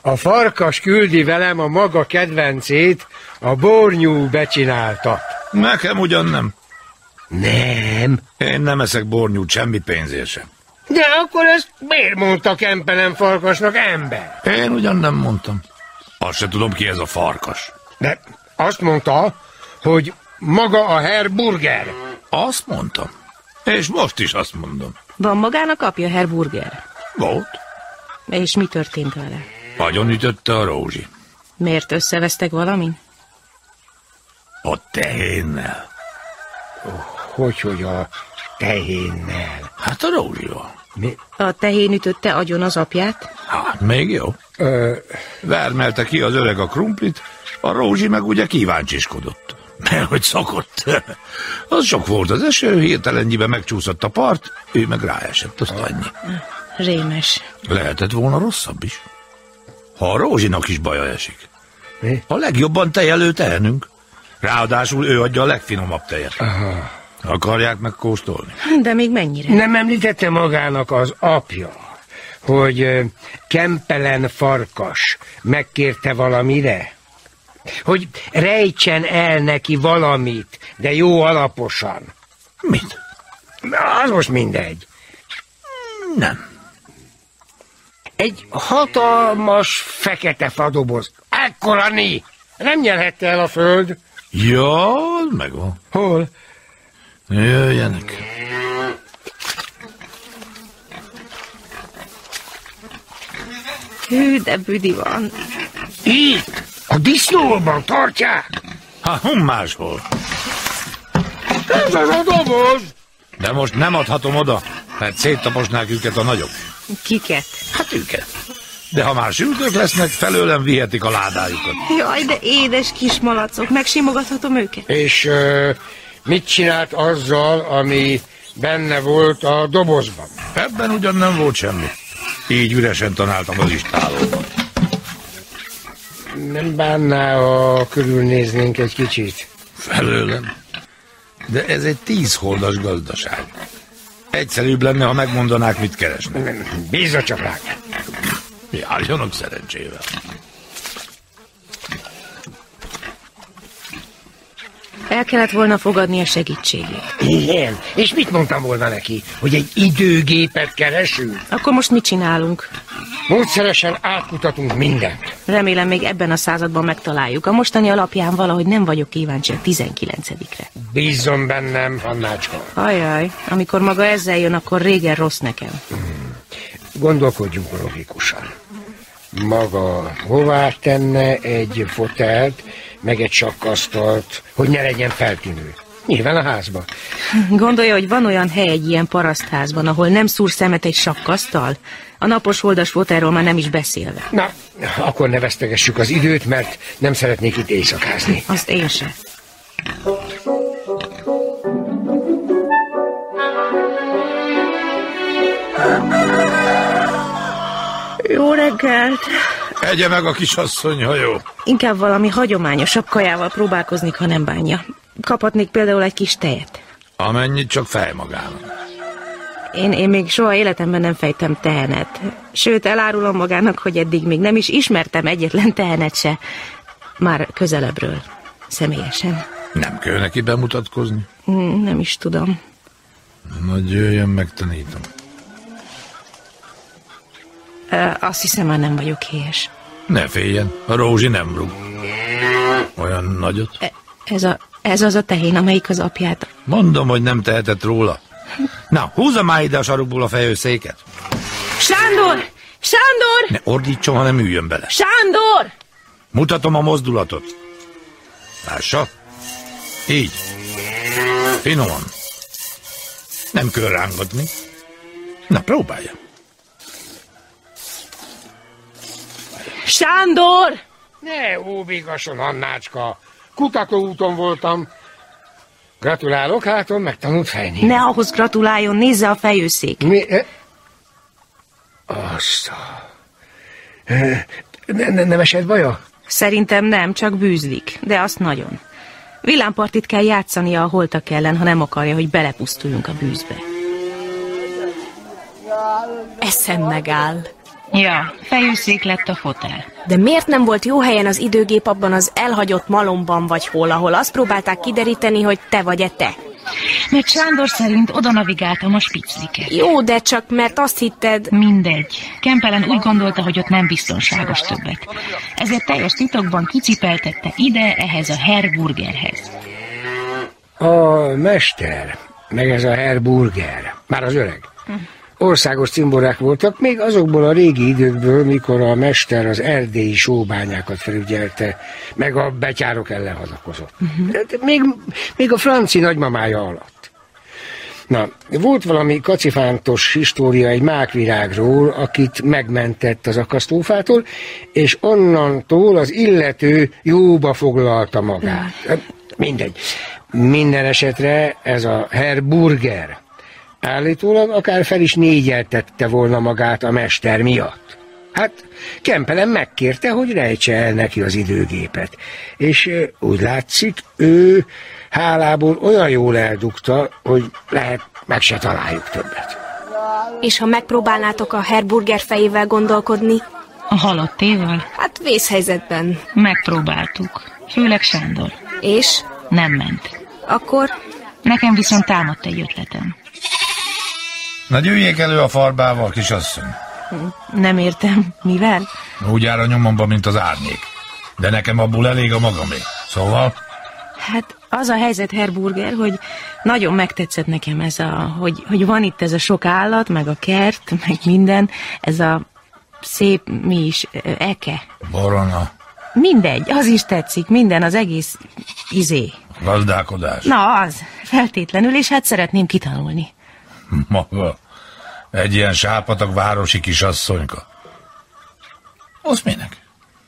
[SPEAKER 12] A farkas küldi velem a maga kedvencét, a bornyú becsináltat.
[SPEAKER 1] Nekem ugyan nem.
[SPEAKER 12] Nem.
[SPEAKER 1] Én nem eszek bornyút semmi pénzért sem.
[SPEAKER 12] De akkor ezt miért mondta Kempelen farkasnak ember?
[SPEAKER 1] Én ugyan nem mondtam. Azt se tudom, ki ez a farkas.
[SPEAKER 12] De azt mondta, hogy maga a Herr Burger.
[SPEAKER 1] Azt mondtam. És most is azt mondom.
[SPEAKER 6] Van magának apja, Herr Burger?
[SPEAKER 1] Volt.
[SPEAKER 6] És mi történt vele?
[SPEAKER 1] Agyon ütötte a rózsi.
[SPEAKER 6] Miért összevesztek valamin?
[SPEAKER 1] A tehénnel.
[SPEAKER 12] Hogy, hogy a tehénnel?
[SPEAKER 1] Hát a rózsival.
[SPEAKER 12] Mi?
[SPEAKER 6] A tehén ütötte agyon az apját?
[SPEAKER 1] Hát, még jó.
[SPEAKER 12] Ö...
[SPEAKER 1] Vermelte ki az öreg a krumplit, a rózsi meg ugye kíváncsiskodott. Mert hogy szokott. az sok volt az eső, hirtelen nyibe megcsúszott a part, ő meg ráesett, azt annyi.
[SPEAKER 6] Rémes.
[SPEAKER 1] Lehetett volna rosszabb is. Ha a rózsinak is baja esik.
[SPEAKER 12] Mi?
[SPEAKER 1] A legjobban tejelő tehenünk. Ráadásul ő adja a legfinomabb tejet. Aha. Akarják megkóstolni?
[SPEAKER 6] Hm, De még mennyire?
[SPEAKER 12] Nem említette magának az apja, hogy ö, Kempelen farkas megkérte valamire? Hogy rejtsen el neki valamit, de jó alaposan.
[SPEAKER 1] Mit?
[SPEAKER 12] Na, az most mindegy.
[SPEAKER 1] Nem.
[SPEAKER 12] Egy hatalmas fekete fadoboz. Ekkora né! Nem nyelhette el a föld.
[SPEAKER 1] Ja, az megvan.
[SPEAKER 12] Hol?
[SPEAKER 1] Jöjjenek.
[SPEAKER 6] Hű, de büdi van.
[SPEAKER 12] Itt! A disznóban tartják!
[SPEAKER 1] Hát, hon máshol.
[SPEAKER 12] Ez az a doboz!
[SPEAKER 1] De most nem adhatom oda, mert széttaposnák őket a nagyok.
[SPEAKER 6] Kiket?
[SPEAKER 1] Hát őket. De ha már sültök lesznek, felőlem vihetik a ládájukat.
[SPEAKER 6] Jaj, de édes kis malacok, megsimogathatom őket?
[SPEAKER 12] És ö, mit csinált azzal, ami benne volt a dobozban?
[SPEAKER 1] Ebben ugyan nem volt semmi. Így üresen tanáltam az istálóban.
[SPEAKER 12] Nem bánná, ha körülnéznénk egy kicsit?
[SPEAKER 1] Felőlem. De ez egy tízholdas gazdaság. Egyszerűbb lenne, ha megmondanák, mit keresnek.
[SPEAKER 12] Bízza csak rá.
[SPEAKER 1] Járjanak szerencsével.
[SPEAKER 18] El kellett volna fogadni a segítségét.
[SPEAKER 12] Igen, és mit mondtam volna neki? Hogy egy időgépet keresünk?
[SPEAKER 6] Akkor most mit csinálunk?
[SPEAKER 12] Módszeresen átkutatunk mindent.
[SPEAKER 6] Remélem még ebben a században megtaláljuk. A mostani alapján valahogy nem vagyok kíváncsi a 19-re.
[SPEAKER 12] Bízzon bennem, Hannácska.
[SPEAKER 6] Ajaj, amikor maga ezzel jön, akkor régen rossz nekem.
[SPEAKER 12] Gondolkodjunk logikusan. Maga hová tenne egy fotelt, meg egy sakkasztalt, hogy ne legyen feltűnő? Nyilván a házba.
[SPEAKER 6] Gondolja, hogy van olyan hely egy ilyen parasztházban, ahol nem szúr szemet egy sakkasztal? A napos holdas volt erről már nem is beszélve.
[SPEAKER 12] Na, akkor ne vesztegessük az időt, mert nem szeretnék itt éjszakázni.
[SPEAKER 6] Azt én sem. Jó reggelt!
[SPEAKER 1] Egye meg a kisasszony, ha jó.
[SPEAKER 6] Inkább valami hagyományosabb kajával próbálkoznék, ha nem bánja. Kaphatnék például egy kis tejet.
[SPEAKER 1] Amennyit csak fej magának.
[SPEAKER 6] Én, én még soha életemben nem fejtem tehenet. Sőt, elárulom magának, hogy eddig még nem is ismertem egyetlen tehenet se. Már közelebbről. Személyesen.
[SPEAKER 1] Nem kell neki bemutatkozni.
[SPEAKER 6] Hm, Nem is tudom.
[SPEAKER 1] Na, jöjjön, megtanítom.
[SPEAKER 6] Ö, Azt hiszem, már nem vagyok héjes.
[SPEAKER 1] Ne féljen, a Rózsi nem rúg. Olyan nagyot.
[SPEAKER 6] Ez, a, ez az a tehén, amelyik az apját.
[SPEAKER 1] Mondom, hogy nem tehetett róla. Na, húzza már ide a sarokból a fejőszéket.
[SPEAKER 18] Sándor! Sándor!
[SPEAKER 1] Ne ordítson, hanem üljön bele.
[SPEAKER 18] Sándor!
[SPEAKER 1] Mutatom a mozdulatot. Lássa. Így. Finoman. Nem kell rángatni. Na, próbálja.
[SPEAKER 6] Sándor!
[SPEAKER 12] Ne óbigasson, Annácska. Kutatóúton voltam. Gratulálok, hátom megtanult fejni.
[SPEAKER 6] Ne ahhoz gratuláljon, nézze a fejőszék.
[SPEAKER 12] Mi? Eh? Azt a... Ne, ne, nem esett baja?
[SPEAKER 6] Szerintem nem, csak bűzlik, de azt nagyon. Villámpartit kell játszania a holtak ellen, ha nem akarja, hogy belepusztuljunk a bűzbe.
[SPEAKER 2] Eszem megáll.
[SPEAKER 6] Ja, fejőszék lett a fotel.
[SPEAKER 2] De miért nem volt jó helyen az időgép abban az elhagyott malomban vagy hol, ahol azt próbálták kideríteni, hogy te vagy-e te?
[SPEAKER 6] Mert Sándor szerint oda navigáltam a spicliket.
[SPEAKER 2] Jó, de csak mert azt hitted...
[SPEAKER 6] Mindegy. Kempelen úgy gondolta, hogy ott nem biztonságos többet. Ezért teljes titokban kicipeltette ide, ehhez a herburgerhez.
[SPEAKER 12] A mester, meg ez a Herr Burger, már az öreg. Országos cimborák voltak, még azokból a régi időkből, mikor a mester az erdélyi sóbányákat felügyelte, meg a betyárok ellen hadakozott. Tehát Még, még a franci nagymamája alatt. Na, volt valami kacifántos história egy mákvirágról, akit megmentett az akasztófától, és onnantól az illető jóba foglalta magát. Mindegy. Minden esetre ez a Herr Burger állítólag akár fel is négyeltette volna magát a mester miatt. Hát Kempelen megkérte, hogy rejtse el neki az időgépet, és ö, úgy látszik, ő hálából olyan jól eldugta, hogy lehet meg se találjuk többet.
[SPEAKER 2] És ha megpróbálnátok a herburger fejével gondolkodni?
[SPEAKER 6] A halottéval?
[SPEAKER 2] Hát vészhelyzetben.
[SPEAKER 6] Megpróbáltuk. Főleg Sándor.
[SPEAKER 2] És?
[SPEAKER 6] Nem ment.
[SPEAKER 2] Akkor?
[SPEAKER 6] Nekem viszont támadt egy ötletem.
[SPEAKER 1] Na, gyűjjék elő a farbával, kisasszony.
[SPEAKER 6] Nem értem. Mivel?
[SPEAKER 1] Úgy áll a nyomomba, mint az árnyék. De nekem abból elég a magamé. Szóval,
[SPEAKER 6] Hát az a helyzet, Herburger, hogy nagyon megtetszett nekem ez a, hogy, hogy van itt ez a sok állat, meg a kert, meg minden, ez a szép, mi is, ö, eke.
[SPEAKER 1] borona,
[SPEAKER 6] Mindegy, az is tetszik, minden, az egész izé.
[SPEAKER 1] gazdálkodás,
[SPEAKER 6] Na az, feltétlenül, és hát szeretném kitanulni.
[SPEAKER 1] maga. Egy ilyen sápatak városi kisasszonyka. Az minek?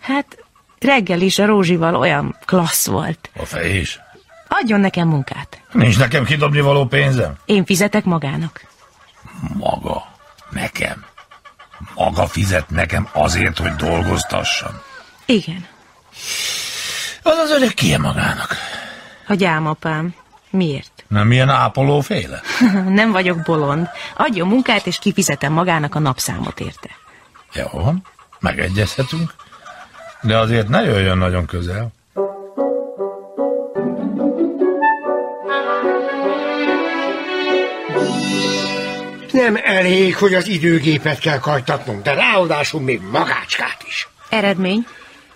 [SPEAKER 6] Hát reggel is a Rózsival olyan klassz volt.
[SPEAKER 1] A fej is.
[SPEAKER 6] Adjon nekem munkát.
[SPEAKER 1] Nincs nekem kidobni való pénzem?
[SPEAKER 6] Én fizetek magának.
[SPEAKER 1] Maga. Nekem. Maga fizet nekem azért, hogy dolgoztassam.
[SPEAKER 6] Igen.
[SPEAKER 1] Az az öreg ki magának.
[SPEAKER 6] Hogy ám, apám. Miért?
[SPEAKER 1] Nem ilyen ápolóféle?
[SPEAKER 6] Nem vagyok bolond. Adjon munkát, és kifizetem magának a napszámot érte.
[SPEAKER 1] Jó, megegyezhetünk. De azért ne jöjjön nagyon közel.
[SPEAKER 12] Nem elég, hogy az időgépet kell kajtatnom, de ráadásul még magácskát is.
[SPEAKER 6] Eredmény?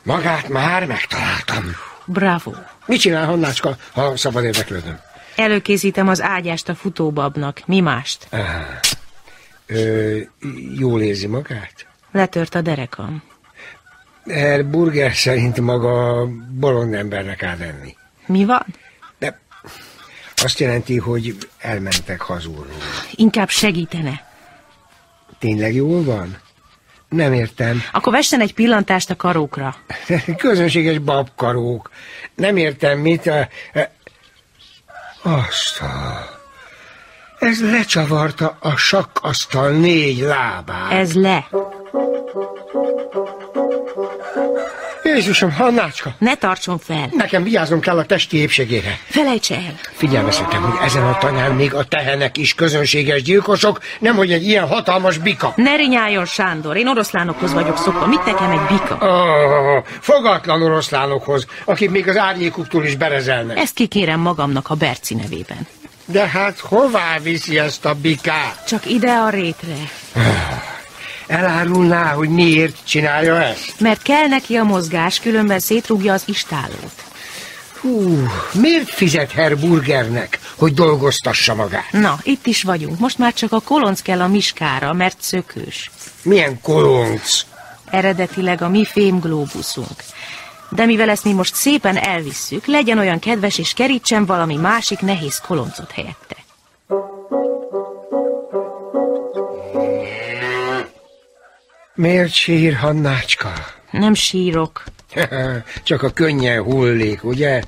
[SPEAKER 12] Magát már megtaláltam.
[SPEAKER 6] Bravo.
[SPEAKER 12] Mit csinál Hannácska, ha szabad érdeklődöm?
[SPEAKER 6] Előkészítem az ágyást a futóbabnak. Mi mást?
[SPEAKER 12] Aha. Ö, jól érzi magát?
[SPEAKER 6] Letört a derekam.
[SPEAKER 12] Herr Burger szerint maga bolond embernek áll lenni.
[SPEAKER 6] Mi van?
[SPEAKER 12] De azt jelenti, hogy elmentek hazulról.
[SPEAKER 6] Inkább segítene.
[SPEAKER 12] Tényleg jól van? Nem értem.
[SPEAKER 6] Akkor vessen egy pillantást a karókra.
[SPEAKER 12] Közönséges babkarók. Nem értem, mit... A, a... Azt a... Ez lecsavarta a sakkasztal négy lábát.
[SPEAKER 6] Ez le.
[SPEAKER 12] Jézusom, Hannácska!
[SPEAKER 6] Ne tartson fel!
[SPEAKER 12] Nekem vigyáznom kell a testi épségére.
[SPEAKER 6] Felejtse el!
[SPEAKER 12] Figyelmeztetem, hogy ezen a tanyán még a tehenek is közönséges gyilkosok, nemhogy egy ilyen hatalmas bika.
[SPEAKER 6] Ne rinyáljon, Sándor! Én oroszlánokhoz vagyok szokva. Mit nekem egy bika?
[SPEAKER 12] Oh, fogatlan oroszlánokhoz, akik még az árnyékuktól is berezelnek.
[SPEAKER 6] Ezt kikérem magamnak a Berci nevében.
[SPEAKER 12] De hát hová viszi ezt a bikát?
[SPEAKER 6] Csak ide a rétre,
[SPEAKER 12] Elárulná, hogy miért csinálja ezt?
[SPEAKER 6] mert kell neki a mozgás, különben szétrúgja az istálót.
[SPEAKER 12] Hú, miért fizet Herr Burgernek, hogy dolgoztassa magát?
[SPEAKER 6] Na, itt is vagyunk. Most már csak a kolonc kell a miskára, mert szökős.
[SPEAKER 12] Milyen kolonc?
[SPEAKER 6] Eredetileg a mi fémglóbuszunk. De mivel ezt mi most szépen elvisszük, legyen olyan kedves és kerítsen valami másik nehéz koloncot helyette.
[SPEAKER 12] Miért sír Hannácska?
[SPEAKER 6] Nem sírok.
[SPEAKER 12] Csak a könnyen hullik, ugye?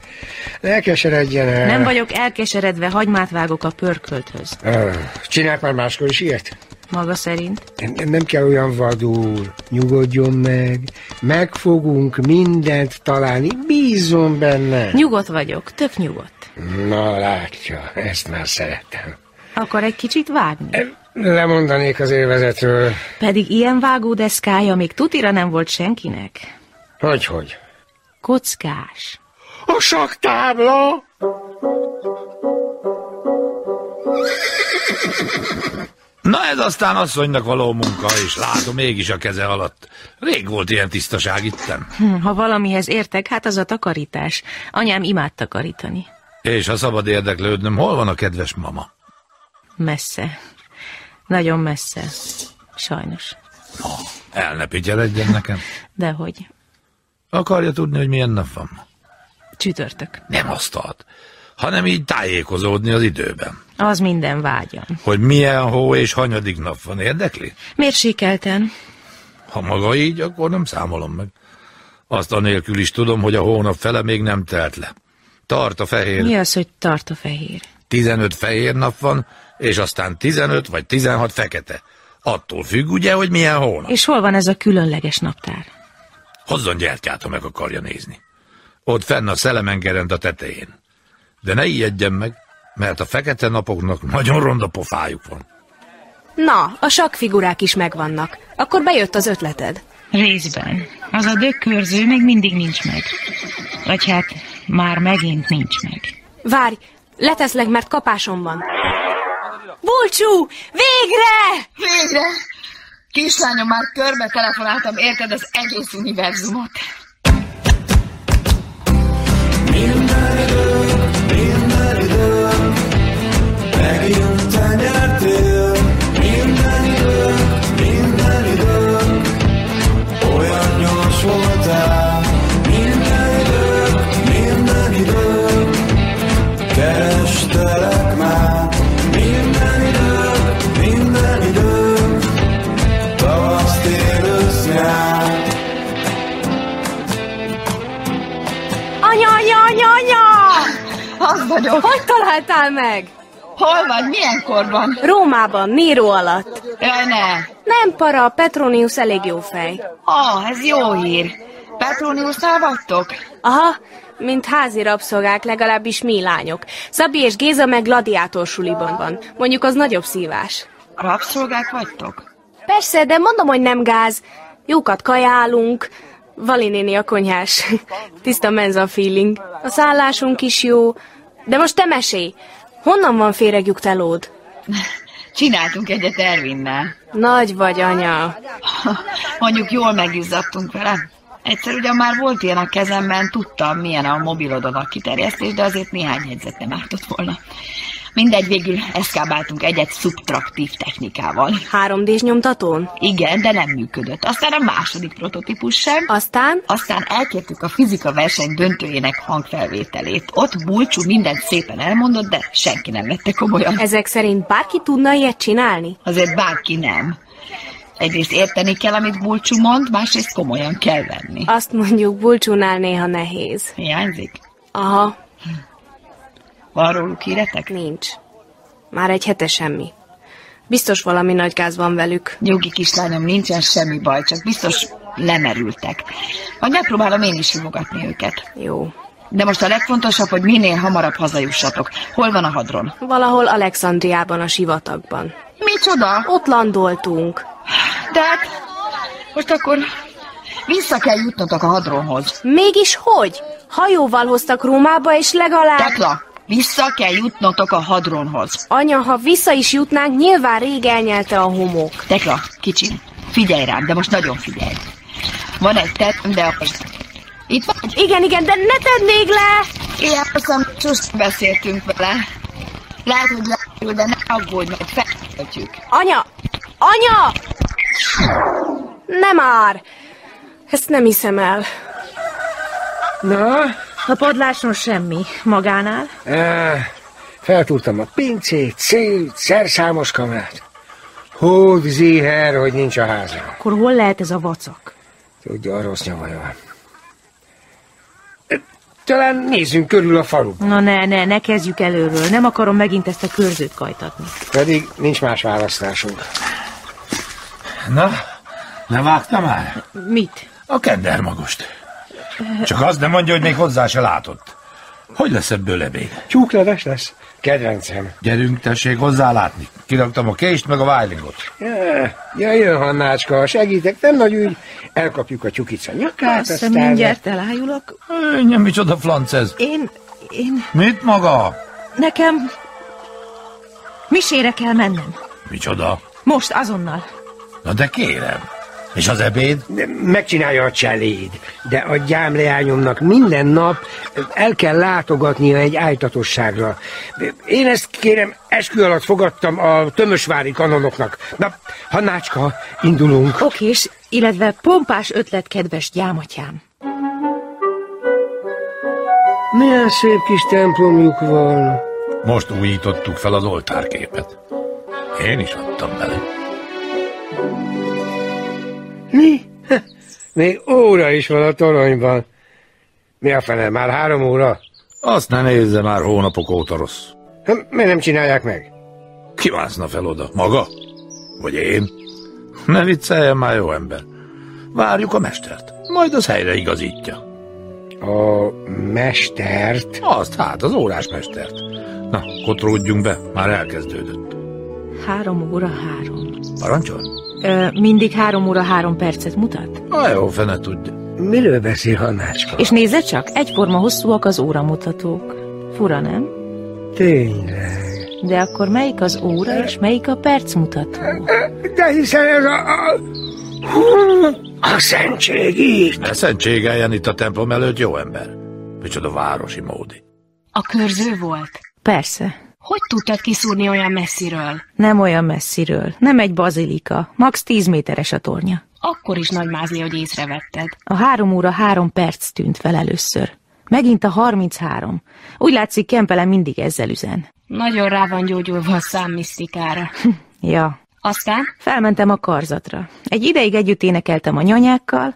[SPEAKER 12] Ne keseredjen el.
[SPEAKER 6] Nem vagyok elkeseredve, hagymát vágok a pörkölthöz.
[SPEAKER 12] Öh, Csinált már máskor is ilyet?
[SPEAKER 6] Maga szerint?
[SPEAKER 12] Nem- Nem kell olyan vadul, nyugodjon meg. Meg fogunk mindent találni, bízom benne.
[SPEAKER 6] Nyugodt vagyok, tök nyugodt.
[SPEAKER 12] Na látja, ezt már szerettem.
[SPEAKER 6] Akar egy kicsit
[SPEAKER 12] Eh,
[SPEAKER 6] vágni?
[SPEAKER 12] Lemondanék az élvezetről.
[SPEAKER 6] Pedig ilyen vágódeszkája még tutira nem volt senkinek.
[SPEAKER 12] Hogy, hogy?
[SPEAKER 6] Kockás.
[SPEAKER 12] A saktábla!
[SPEAKER 1] Na ez aztán asszonynak való munka, és látom mégis a keze alatt. Rég volt ilyen tisztaság ittem.
[SPEAKER 6] Hm, Ha valamihez értek, hát az a takarítás. Anyám imád takarítani.
[SPEAKER 1] És ha szabad érdeklődnöm, hol van a kedves mama?
[SPEAKER 6] Messze. Nagyon messze. Sajnos.
[SPEAKER 1] El ne pigyeledjen nekem.
[SPEAKER 6] Dehogy.
[SPEAKER 1] Akarja tudni, hogy milyen nap van?
[SPEAKER 6] Csütörtök.
[SPEAKER 1] Nem asztalt, hanem így tájékozódni az időben.
[SPEAKER 6] Az minden vágyam.
[SPEAKER 1] Hogy milyen hó és hanyadik nap van, érdekli?
[SPEAKER 6] Mérsékelten.
[SPEAKER 1] Ha maga így, akkor nem számolom meg. Azt anélkül is tudom, hogy a hónap fele még nem telt le. Tart a fehér.
[SPEAKER 6] Mi az, hogy tart a fehér?
[SPEAKER 1] 15 fehér nap van, és aztán 15 vagy 16 fekete. Attól függ ugye, hogy milyen hónap.
[SPEAKER 6] És hol van ez a különleges naptár?
[SPEAKER 1] Hozzon gyertyát, ha meg akarja nézni. Ott fenn a szelemengerend a tetején. De ne ijedjen meg, mert a fekete napoknak nagyon ronda pofájuk van.
[SPEAKER 2] Na, a sakfigurák is megvannak. Akkor bejött az ötleted.
[SPEAKER 6] Részben. Az a dökkörző még mindig nincs meg. Vagy hát már megint nincs meg.
[SPEAKER 2] Várj, leteszlek, mert kapásom van. Bulcsú! Végre!
[SPEAKER 7] Végre! Kislányom, már körbe telefonáltam, érted az egész univerzumot.
[SPEAKER 8] Megjött a nyertél, minden idő, minden idő, olyan gyors voltál. Minden idő, minden idő, kerestelek már. Minden idő, minden idő, tavasz, tél, ősz, nyár.
[SPEAKER 2] Anya, anya, anya, anya!
[SPEAKER 7] Az vagyok.
[SPEAKER 2] Hogy találtál meg?
[SPEAKER 7] Hol vagy? Milyen korban?
[SPEAKER 2] Rómában, Nero alatt.
[SPEAKER 7] Jaj, ne!
[SPEAKER 2] Nem para, Petronius elég jó fej.
[SPEAKER 7] Ah, ez jó hír. Petroniusnál vagytok?
[SPEAKER 2] Aha, mint házi rabszolgák, legalábbis mi lányok. Szabi és Géza meg gladiátor suliban van. Mondjuk az nagyobb szívás.
[SPEAKER 7] Rabszolgák vagytok?
[SPEAKER 2] Persze, de mondom, hogy nem gáz. Jókat kajálunk. Vali néni a konyhás. Tiszta menza feeling. A szállásunk is jó. De most te mesélj. Honnan van féregjük telód?
[SPEAKER 7] Csináltunk egyet Ervinnel.
[SPEAKER 2] Nagy vagy, anya.
[SPEAKER 7] Mondjuk jól megizzadtunk vele. Egyszer ugyan már volt ilyen a kezemben, tudtam, milyen a mobilodon a kiterjesztés, de azért néhány jegyzet nem ártott volna. Mindegy, végül eszkábáltunk egyet szubtraktív technikával.
[SPEAKER 2] 3D-s nyomtatón?
[SPEAKER 7] Igen, de nem működött. Aztán a második prototípus sem.
[SPEAKER 2] Aztán?
[SPEAKER 7] Aztán elkértük a fizika verseny döntőjének hangfelvételét. Ott Bulcsú mindent szépen elmondott, de senki nem vette komolyan.
[SPEAKER 2] Ezek szerint bárki tudna ilyet csinálni?
[SPEAKER 7] Azért bárki nem. Egyrészt érteni kell, amit Bulcsú mond, másrészt komolyan kell venni.
[SPEAKER 2] Azt mondjuk bulcsúnál néha nehéz.
[SPEAKER 7] Hiányzik?
[SPEAKER 2] Aha,
[SPEAKER 7] Van róluk híretek?
[SPEAKER 2] Nincs. Már egy hete semmi. Biztos valami nagy gáz van velük.
[SPEAKER 7] Nyugi kislányom, nincsen semmi baj, csak biztos lemerültek. Majd megpróbálom én is hívogatni őket.
[SPEAKER 2] Jó.
[SPEAKER 7] De most a legfontosabb, hogy minél hamarabb hazajussatok. Hol van a hadron?
[SPEAKER 2] Valahol Alexandriában, a sivatagban.
[SPEAKER 7] Micsoda?
[SPEAKER 2] Ott landoltunk.
[SPEAKER 7] De hát, most akkor vissza kell jutnotok a hadronhoz.
[SPEAKER 2] Mégis hogy? Hajóval hoztak Rómába, és legalább...
[SPEAKER 7] Tekla, vissza kell jutnotok a hadronhoz.
[SPEAKER 2] Anya, ha vissza is jutnánk, nyilván rég elnyelte a homok.
[SPEAKER 7] Tekla, kicsi, figyelj rám, de most nagyon figyelj. Van egy tett, de Itt vagy?
[SPEAKER 2] Igen, igen, de ne tedd még le!
[SPEAKER 7] Ilyen szamcsus beszéltünk vele. Lehet, hogy lekerül, de ne aggódj, majd feltöltjük.
[SPEAKER 2] Anya! Anya! Nem már! Ezt nem hiszem el.
[SPEAKER 6] Na, a padláson semmi. Magánál?
[SPEAKER 12] Á, feltúrtam a pincét, szét, szerszámos kamerát. Hód ziher, hogy nincs a házam.
[SPEAKER 6] Akkor hol lehet ez a vacak?
[SPEAKER 12] Tudja, a rossz nyavaja van. Ö, Talán nézzünk körül a falu.
[SPEAKER 6] Na ne, ne, ne kezdjük előről. Nem akarom megint ezt a körzőt kajtatni.
[SPEAKER 12] Pedig nincs más választásunk.
[SPEAKER 1] Na, levágta már?
[SPEAKER 6] Mit?
[SPEAKER 1] A kendermagost. Csak azt nem mondja, hogy még hozzá se látott. Hogy lesz ebből ebéd?
[SPEAKER 12] Tyúkleves lesz? Kedvencem.
[SPEAKER 1] Gyerünk, tessék hozzá látni. Kiraktam a kést, meg a vájlingot.
[SPEAKER 12] Ja, Jöjjön, Hannácska, segítek, nem nagy ügy. Elkapjuk a tyukica nyakát,
[SPEAKER 6] Azt hiszem, mindjárt elájulok.
[SPEAKER 1] Ennyi, micsoda flanc ez?
[SPEAKER 6] Én, én,
[SPEAKER 1] Mit maga?
[SPEAKER 6] nekem misére kell mennem.
[SPEAKER 1] Micsoda?
[SPEAKER 6] Most, azonnal.
[SPEAKER 1] Na de kérem. És az ebéd?
[SPEAKER 12] De Megcsinálja a cseléd, de a gyámleányomnak minden nap el kell látogatnia egy ájtatosságra. Én ezt kérem, eskü alatt fogadtam a tömösvári kanonoknak. Na, Hannácska, indulunk.
[SPEAKER 6] Okés, illetve pompás ötlet, kedves gyámatyám.
[SPEAKER 12] Milyen szép kis templomjuk van.
[SPEAKER 1] Most újítottuk fel az oltárképet. Én is adtam bele.
[SPEAKER 12] Mi? Ha, Még óra is van a toronyban. Mi a fene, már három óra?
[SPEAKER 1] Azt ne nézze már hónapok óta rossz.
[SPEAKER 12] Hát, Miért nem csinálják meg?
[SPEAKER 1] Ki mászna fel oda? Maga? Vagy én? Ne vicceljen már, jó ember. Várjuk a mestert. Majd az helyre igazítja.
[SPEAKER 12] A mestert?
[SPEAKER 1] Azt hát, az órásmestert. Na, kotródjunk be, már elkezdődött.
[SPEAKER 6] Három óra három.
[SPEAKER 1] Parancsol?
[SPEAKER 6] Ö, mindig három óra három percet mutat?
[SPEAKER 1] Na jó, fene tudja.
[SPEAKER 12] Miről beszél Hannácska?
[SPEAKER 6] És nézze csak, egyforma hosszúak az óramutatók. Fura, nem?
[SPEAKER 12] Tényleg.
[SPEAKER 6] De akkor melyik az óra és melyik a percmutató?
[SPEAKER 12] De hiszen ez a... a... Hú, a szentség írt.
[SPEAKER 1] Ne szentségeljen itt a templom előtt, jó ember. Micsoda városi módi.
[SPEAKER 2] A körző volt.
[SPEAKER 6] Persze,
[SPEAKER 2] Hogy tudtad kiszúrni olyan messziről?
[SPEAKER 6] nem olyan messziről. Nem egy bazilika, max. 10 méteres a tornya.
[SPEAKER 2] Akkor is nagy mázli, hogy észrevetted.
[SPEAKER 6] A három óra három perc tűnt fel először. Megint a 33. Úgy látszik, Kempelen mindig ezzel üzen.
[SPEAKER 2] Nagyon rá van gyógyulva a számmisztikára.
[SPEAKER 6] Ja,
[SPEAKER 2] Aztán
[SPEAKER 6] Felmentem a karzatra. Egy ideig együtt énekeltem a nyanyákkal,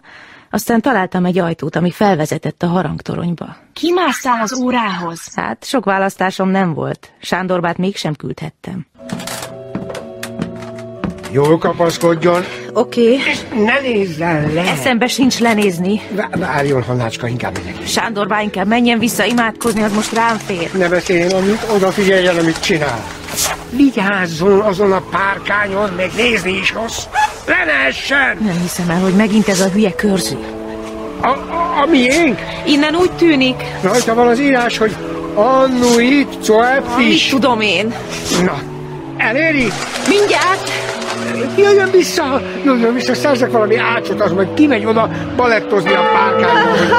[SPEAKER 6] aztán találtam egy ajtót, ami felvezetett a harangtoronyba.
[SPEAKER 2] kimásztál az órához.
[SPEAKER 6] Hát sok választásom nem volt. Sándorbát mégsem küldhettem.
[SPEAKER 12] Jól kapaszkodjon.
[SPEAKER 6] Oké, okay.
[SPEAKER 12] Ne nézzen le.
[SPEAKER 6] eszembe sincs lenézni.
[SPEAKER 12] Vá- Várjon, Hannácska, inkább megyek.
[SPEAKER 6] Sándorbá inkább menjen vissza imádkozni, az most rám fér.
[SPEAKER 12] Ne beszéljen, amit odafigyeljen, amit csinál. Vigyázzon azon a párkányon, még nézni is rossz. Le ne essen!
[SPEAKER 6] Nem hiszem el, hogy megint ez a hülye körző.
[SPEAKER 12] A, a, a miénk?
[SPEAKER 6] Innen úgy tűnik,
[SPEAKER 12] Rajta van az írás, hogy Annuit
[SPEAKER 6] mit
[SPEAKER 12] Coeptis.
[SPEAKER 6] tudom én.
[SPEAKER 12] Na, el, Éri! Mindjárt! Jöjjön vissza! Jöjjön vissza, szerzek valami ácsot, az meg kimegy oda balettozni a párkányból.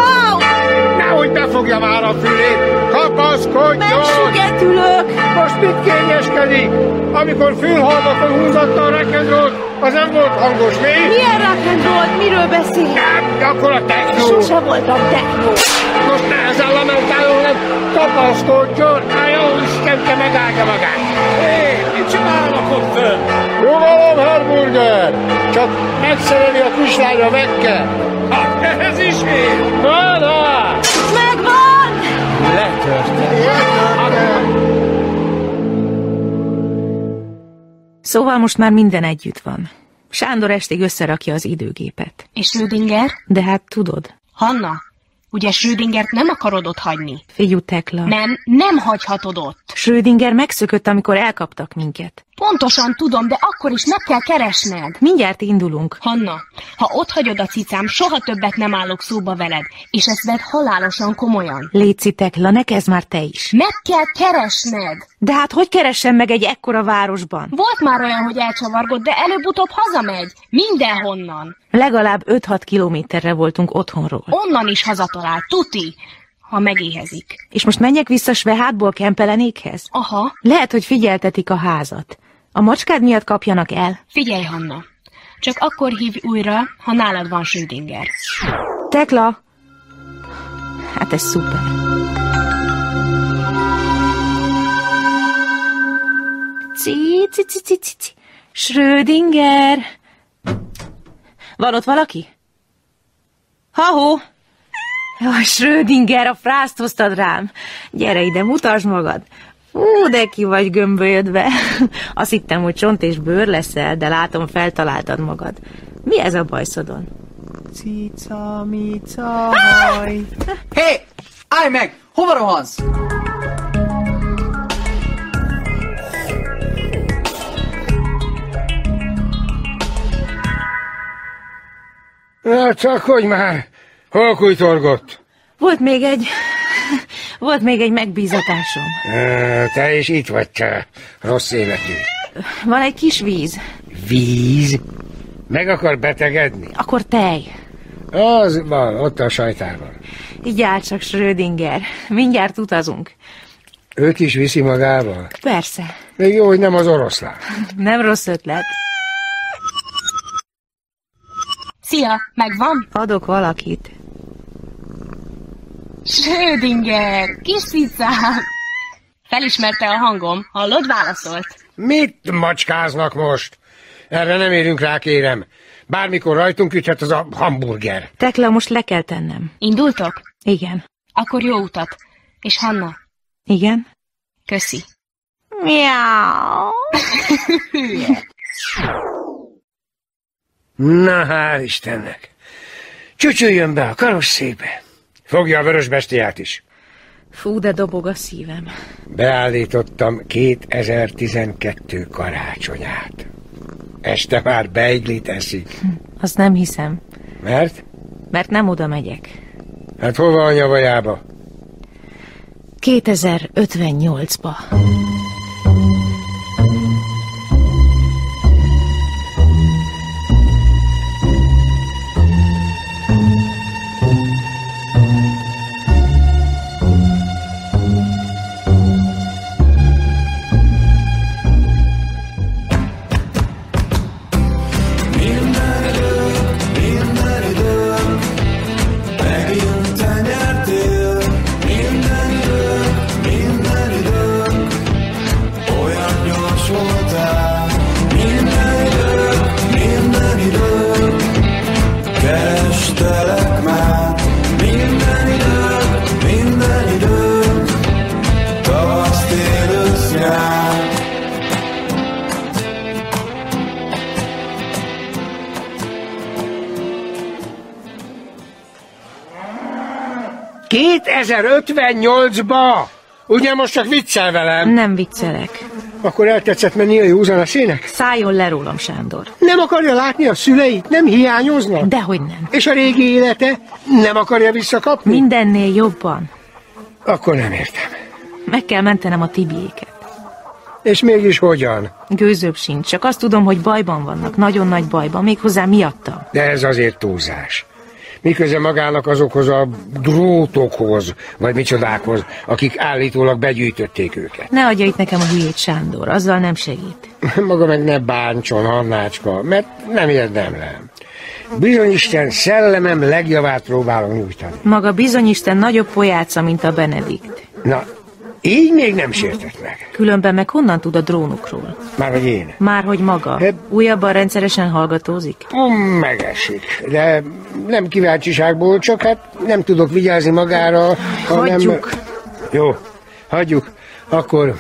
[SPEAKER 12] Nehogy befogja már a fülét! Kapaszkodjon! Megsugetülök! Most mit kényeskedik? Amikor fülhalmakon húzatta a rock'n'rollt, az nem volt hangos, mi?
[SPEAKER 1] Milyen rock'n'roll? Miről beszél?
[SPEAKER 12] Nem, akkor a technó! Sose
[SPEAKER 1] voltam technó!
[SPEAKER 12] Most nehezen lamentál, hanem kapaszkodjon! Hát jó, Isten, te megállja magát! Hé, mit csinálnak ott föl? Nyugalom, hamburger! Csak megszereli a kislány a vekkel! Hát ez is ér! Na, na!
[SPEAKER 1] Megvan!
[SPEAKER 6] Szóval most már minden együtt van. Sándor estig összerakja az időgépet.
[SPEAKER 2] És Schrödinger?
[SPEAKER 6] De hát tudod,
[SPEAKER 2] Hanna, ugye Schrödingert nem akarod ott hagyni?
[SPEAKER 6] figyú Tekla.
[SPEAKER 2] Nem, nem hagyhatod ott.
[SPEAKER 6] Schrödinger megszökött, amikor elkaptak minket.
[SPEAKER 2] Pontosan tudom, de akkor is meg kell keresned.
[SPEAKER 6] Mindjárt indulunk.
[SPEAKER 2] Hanna, ha ott hagyod a cicám, soha többet nem állok szóba veled, és ezt vedd halálosan komolyan.
[SPEAKER 6] Léci Tekla, ne kezd már te is.
[SPEAKER 2] Meg kell keresned!
[SPEAKER 6] De hát hogy keressem meg egy ekkora városban?
[SPEAKER 2] Volt már olyan, hogy elcsavargott, de előbb-utóbb hazamegy. Mindenhonnan.
[SPEAKER 6] Legalább 5-6 kilométerre voltunk otthonról.
[SPEAKER 2] Onnan is hazatalál, tuti, ha megéhezik.
[SPEAKER 6] És most menjek vissza Svehátból Kempelenékhez?
[SPEAKER 2] Aha.
[SPEAKER 6] Lehet, hogy figyeltetik a házat. A macskád miatt kapjanak el.
[SPEAKER 2] Figyelj, Hanna, csak akkor hívj újra, ha nálad van Schrödinger.
[SPEAKER 6] Tekla! Hát ez szuper. Ci, ci, ci, ci, ci, ci. Schrödinger! Van ott valaki? Hahó! Jaj, Schrödinger, a frászt hoztad rám. Gyere ide, mutasd magad. Ú, de ki vagy gömbölyödve. Azt hittem, hogy csont és bőr leszel, de látom, feltaláltad magad. Mi ez a bajszodon?
[SPEAKER 9] Cica, mica, haj. Hé, hey, állj meg! Hova rohansz?
[SPEAKER 12] Na, csak hogy már! Hol kujtorgott?
[SPEAKER 6] Volt még egy... Volt még egy megbízatásom.
[SPEAKER 12] Ö, Te is itt vagy, te rossz életű.
[SPEAKER 6] Van egy kis víz,
[SPEAKER 12] Víz? Meg akar betegedni?
[SPEAKER 6] akkor tej.
[SPEAKER 12] Az van, ott a sajtában.
[SPEAKER 6] Így áll csak Schrödinger. Mindjárt utazunk.
[SPEAKER 12] Őt is viszi magával?
[SPEAKER 6] Persze,
[SPEAKER 12] Még jó, hogy nem az oroszlán.
[SPEAKER 6] nem rossz ötlet.
[SPEAKER 2] Szia, megvan?
[SPEAKER 6] Adok valakit.
[SPEAKER 2] Schrödinger, kis cicám! Felismerte a hangom, hallod, válaszolt.
[SPEAKER 12] Mit macskáznak most? Erre nem érünk rá, kérem. Bármikor rajtunk üthet az a hamburger.
[SPEAKER 6] Tekla, most le kell tennem.
[SPEAKER 2] Indultok?
[SPEAKER 6] Igen.
[SPEAKER 2] Akkor jó utat. És Hanna?
[SPEAKER 6] Igen?
[SPEAKER 2] Köszi.
[SPEAKER 6] Miau.
[SPEAKER 12] Na, hál' Istennek. Csücsüljön be a karosszékbe. Fogja a vörös bestiát is.
[SPEAKER 6] Fú, de dobog a szívem.
[SPEAKER 12] Beállítottam 2012 karácsonyát. Este már beiglit eszik.
[SPEAKER 6] Azt nem hiszem,
[SPEAKER 12] Mert?
[SPEAKER 6] mert nem oda megyek.
[SPEAKER 12] Hát hova a nyavajába?
[SPEAKER 6] 2058-ba.
[SPEAKER 8] Minden időm, megint te nyertél. Minden időm, minden időm, olyan gyors voltál. Minden időm, minden időm, kerestelek már. Minden időm, minden időm, tavasz, tél, ősz, nyár.
[SPEAKER 12] Nyolc ba! Ugye most csak viccel velem?
[SPEAKER 6] Nem viccelek.
[SPEAKER 12] Akkor eltetszett menni a józan esének?
[SPEAKER 6] Szálljon le rólam, Sándor.
[SPEAKER 12] Nem akarja látni a szüleit? Nem hiányoznak?
[SPEAKER 6] Dehogy nem.
[SPEAKER 12] És a régi élete nem akarja visszakapni?
[SPEAKER 6] Mindennél jobban.
[SPEAKER 12] Akkor nem értem.
[SPEAKER 6] Meg kell mentenem a Tibiéket.
[SPEAKER 12] És mégis hogyan?
[SPEAKER 6] Gőzőbb sincs, csak azt tudom, hogy bajban vannak, nagyon nagy bajban, méghozzá miattam.
[SPEAKER 12] De ez azért túlzás. Miközben magának azokhoz a drótokhoz, vagy micsodákhoz, akik állítólag begyűjtötték őket.
[SPEAKER 6] Ne adja itt nekem a hülyét Sándor, azzal nem segít.
[SPEAKER 12] Maga meg ne bántson, Annácska, mert nem érdemlem. Bizony Isten szellemem legjavát próbálom nyújtani.
[SPEAKER 6] Maga bizonyisten nagyobb pojáca, mint a Benedikt.
[SPEAKER 12] Na, így még nem sértett meg.
[SPEAKER 6] Különben meg honnan tud a drónokról?
[SPEAKER 12] Már hogy én.
[SPEAKER 6] Márhogy maga. Újabban rendszeresen hallgatózik?
[SPEAKER 12] Mm, Megesik, de nem kíváncsiságból, csak hát nem tudok vigyázni magára, hanem...
[SPEAKER 6] Hagyjuk.
[SPEAKER 12] Jó, hagyjuk. Akkor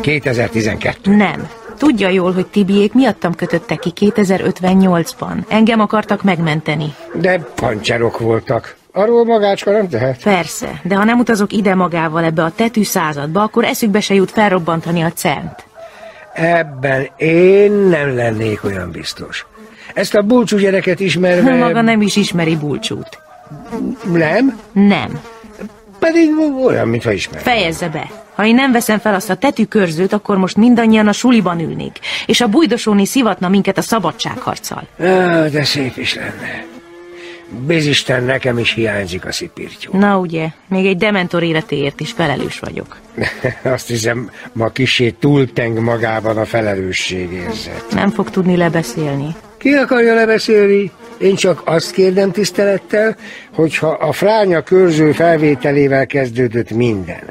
[SPEAKER 12] 2012.
[SPEAKER 6] Nem. Tudja jól, hogy Tibiék miattam kötöttek ki 2058-ban. Engem akartak megmenteni.
[SPEAKER 12] De pancserok voltak. Arról magácska nem tehet.
[SPEAKER 6] Persze, de ha nem utazok ide magával ebbe a tetű századba, akkor eszükbe se jut felrobbantani a cent.
[SPEAKER 12] Ebben én nem lennék olyan biztos. Ezt a bulcsú gyereket ismerve...
[SPEAKER 6] Maga nem is ismeri bulcsút.
[SPEAKER 12] Nem?
[SPEAKER 6] Nem.
[SPEAKER 12] Pedig olyan, mintha ismer.
[SPEAKER 6] Fejezze be! Ha én nem veszem fel azt a tetűkörzőt, akkor most mindannyian a suliban ülnék, és a bujdosóni szivatna minket a szabadságharccal.
[SPEAKER 12] Á, de szép is lenne. Bizisten nekem is hiányzik a szipirtyú.
[SPEAKER 6] Na ugye, még egy dementor életéért is felelős vagyok.
[SPEAKER 12] Azt hiszem, ma kisé túlteng magában a felelősségérzet.
[SPEAKER 6] Nem fog tudni lebeszélni.
[SPEAKER 12] Ki akarja lebeszélni? Én csak azt kérdem tisztelettel, hogyha a fránya körző felvételével kezdődött minden,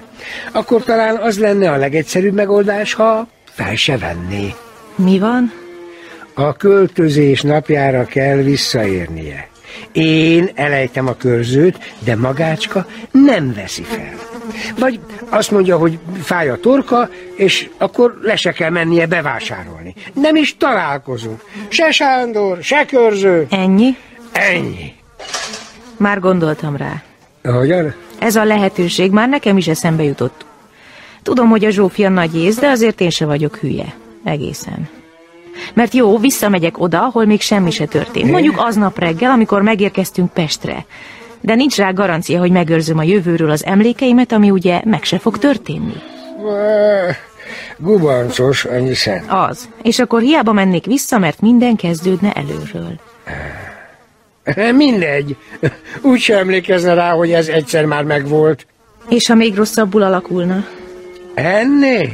[SPEAKER 12] akkor talán az lenne a legegyszerűbb megoldás, ha fel se venné.
[SPEAKER 6] Mi van?
[SPEAKER 12] A költözés napjára kell visszaérnie. Én elejtem a körzőt, de magácska nem veszi fel. Vagy azt mondja, hogy fáj a torka, és akkor le se kell mennie bevásárolni. Nem is találkozunk. Se Sándor, se körző.
[SPEAKER 6] Ennyi?
[SPEAKER 12] Ennyi.
[SPEAKER 6] Már gondoltam rá.
[SPEAKER 12] Hogyan?
[SPEAKER 6] Ez a lehetőség már nekem is eszembe jutott. Tudom, hogy a Zsófia nagy ész, de azért én se vagyok hülye. Egészen. Mert jó, visszamegyek oda, ahol még semmi se történt. Mondjuk aznap reggel, amikor megérkeztünk Pestre. De nincs rá garancia, hogy megőrzöm a jövőről az emlékeimet, ami ugye meg se fog történni.
[SPEAKER 12] Vá, Gubancos, annyi szent.
[SPEAKER 6] Az. És akkor hiába mennék vissza, mert minden kezdődne előről.
[SPEAKER 12] Mindegy. Úgy sem emlékezne rá, hogy ez egyszer már megvolt.
[SPEAKER 6] És ha még rosszabbul alakulna?
[SPEAKER 12] Ennél?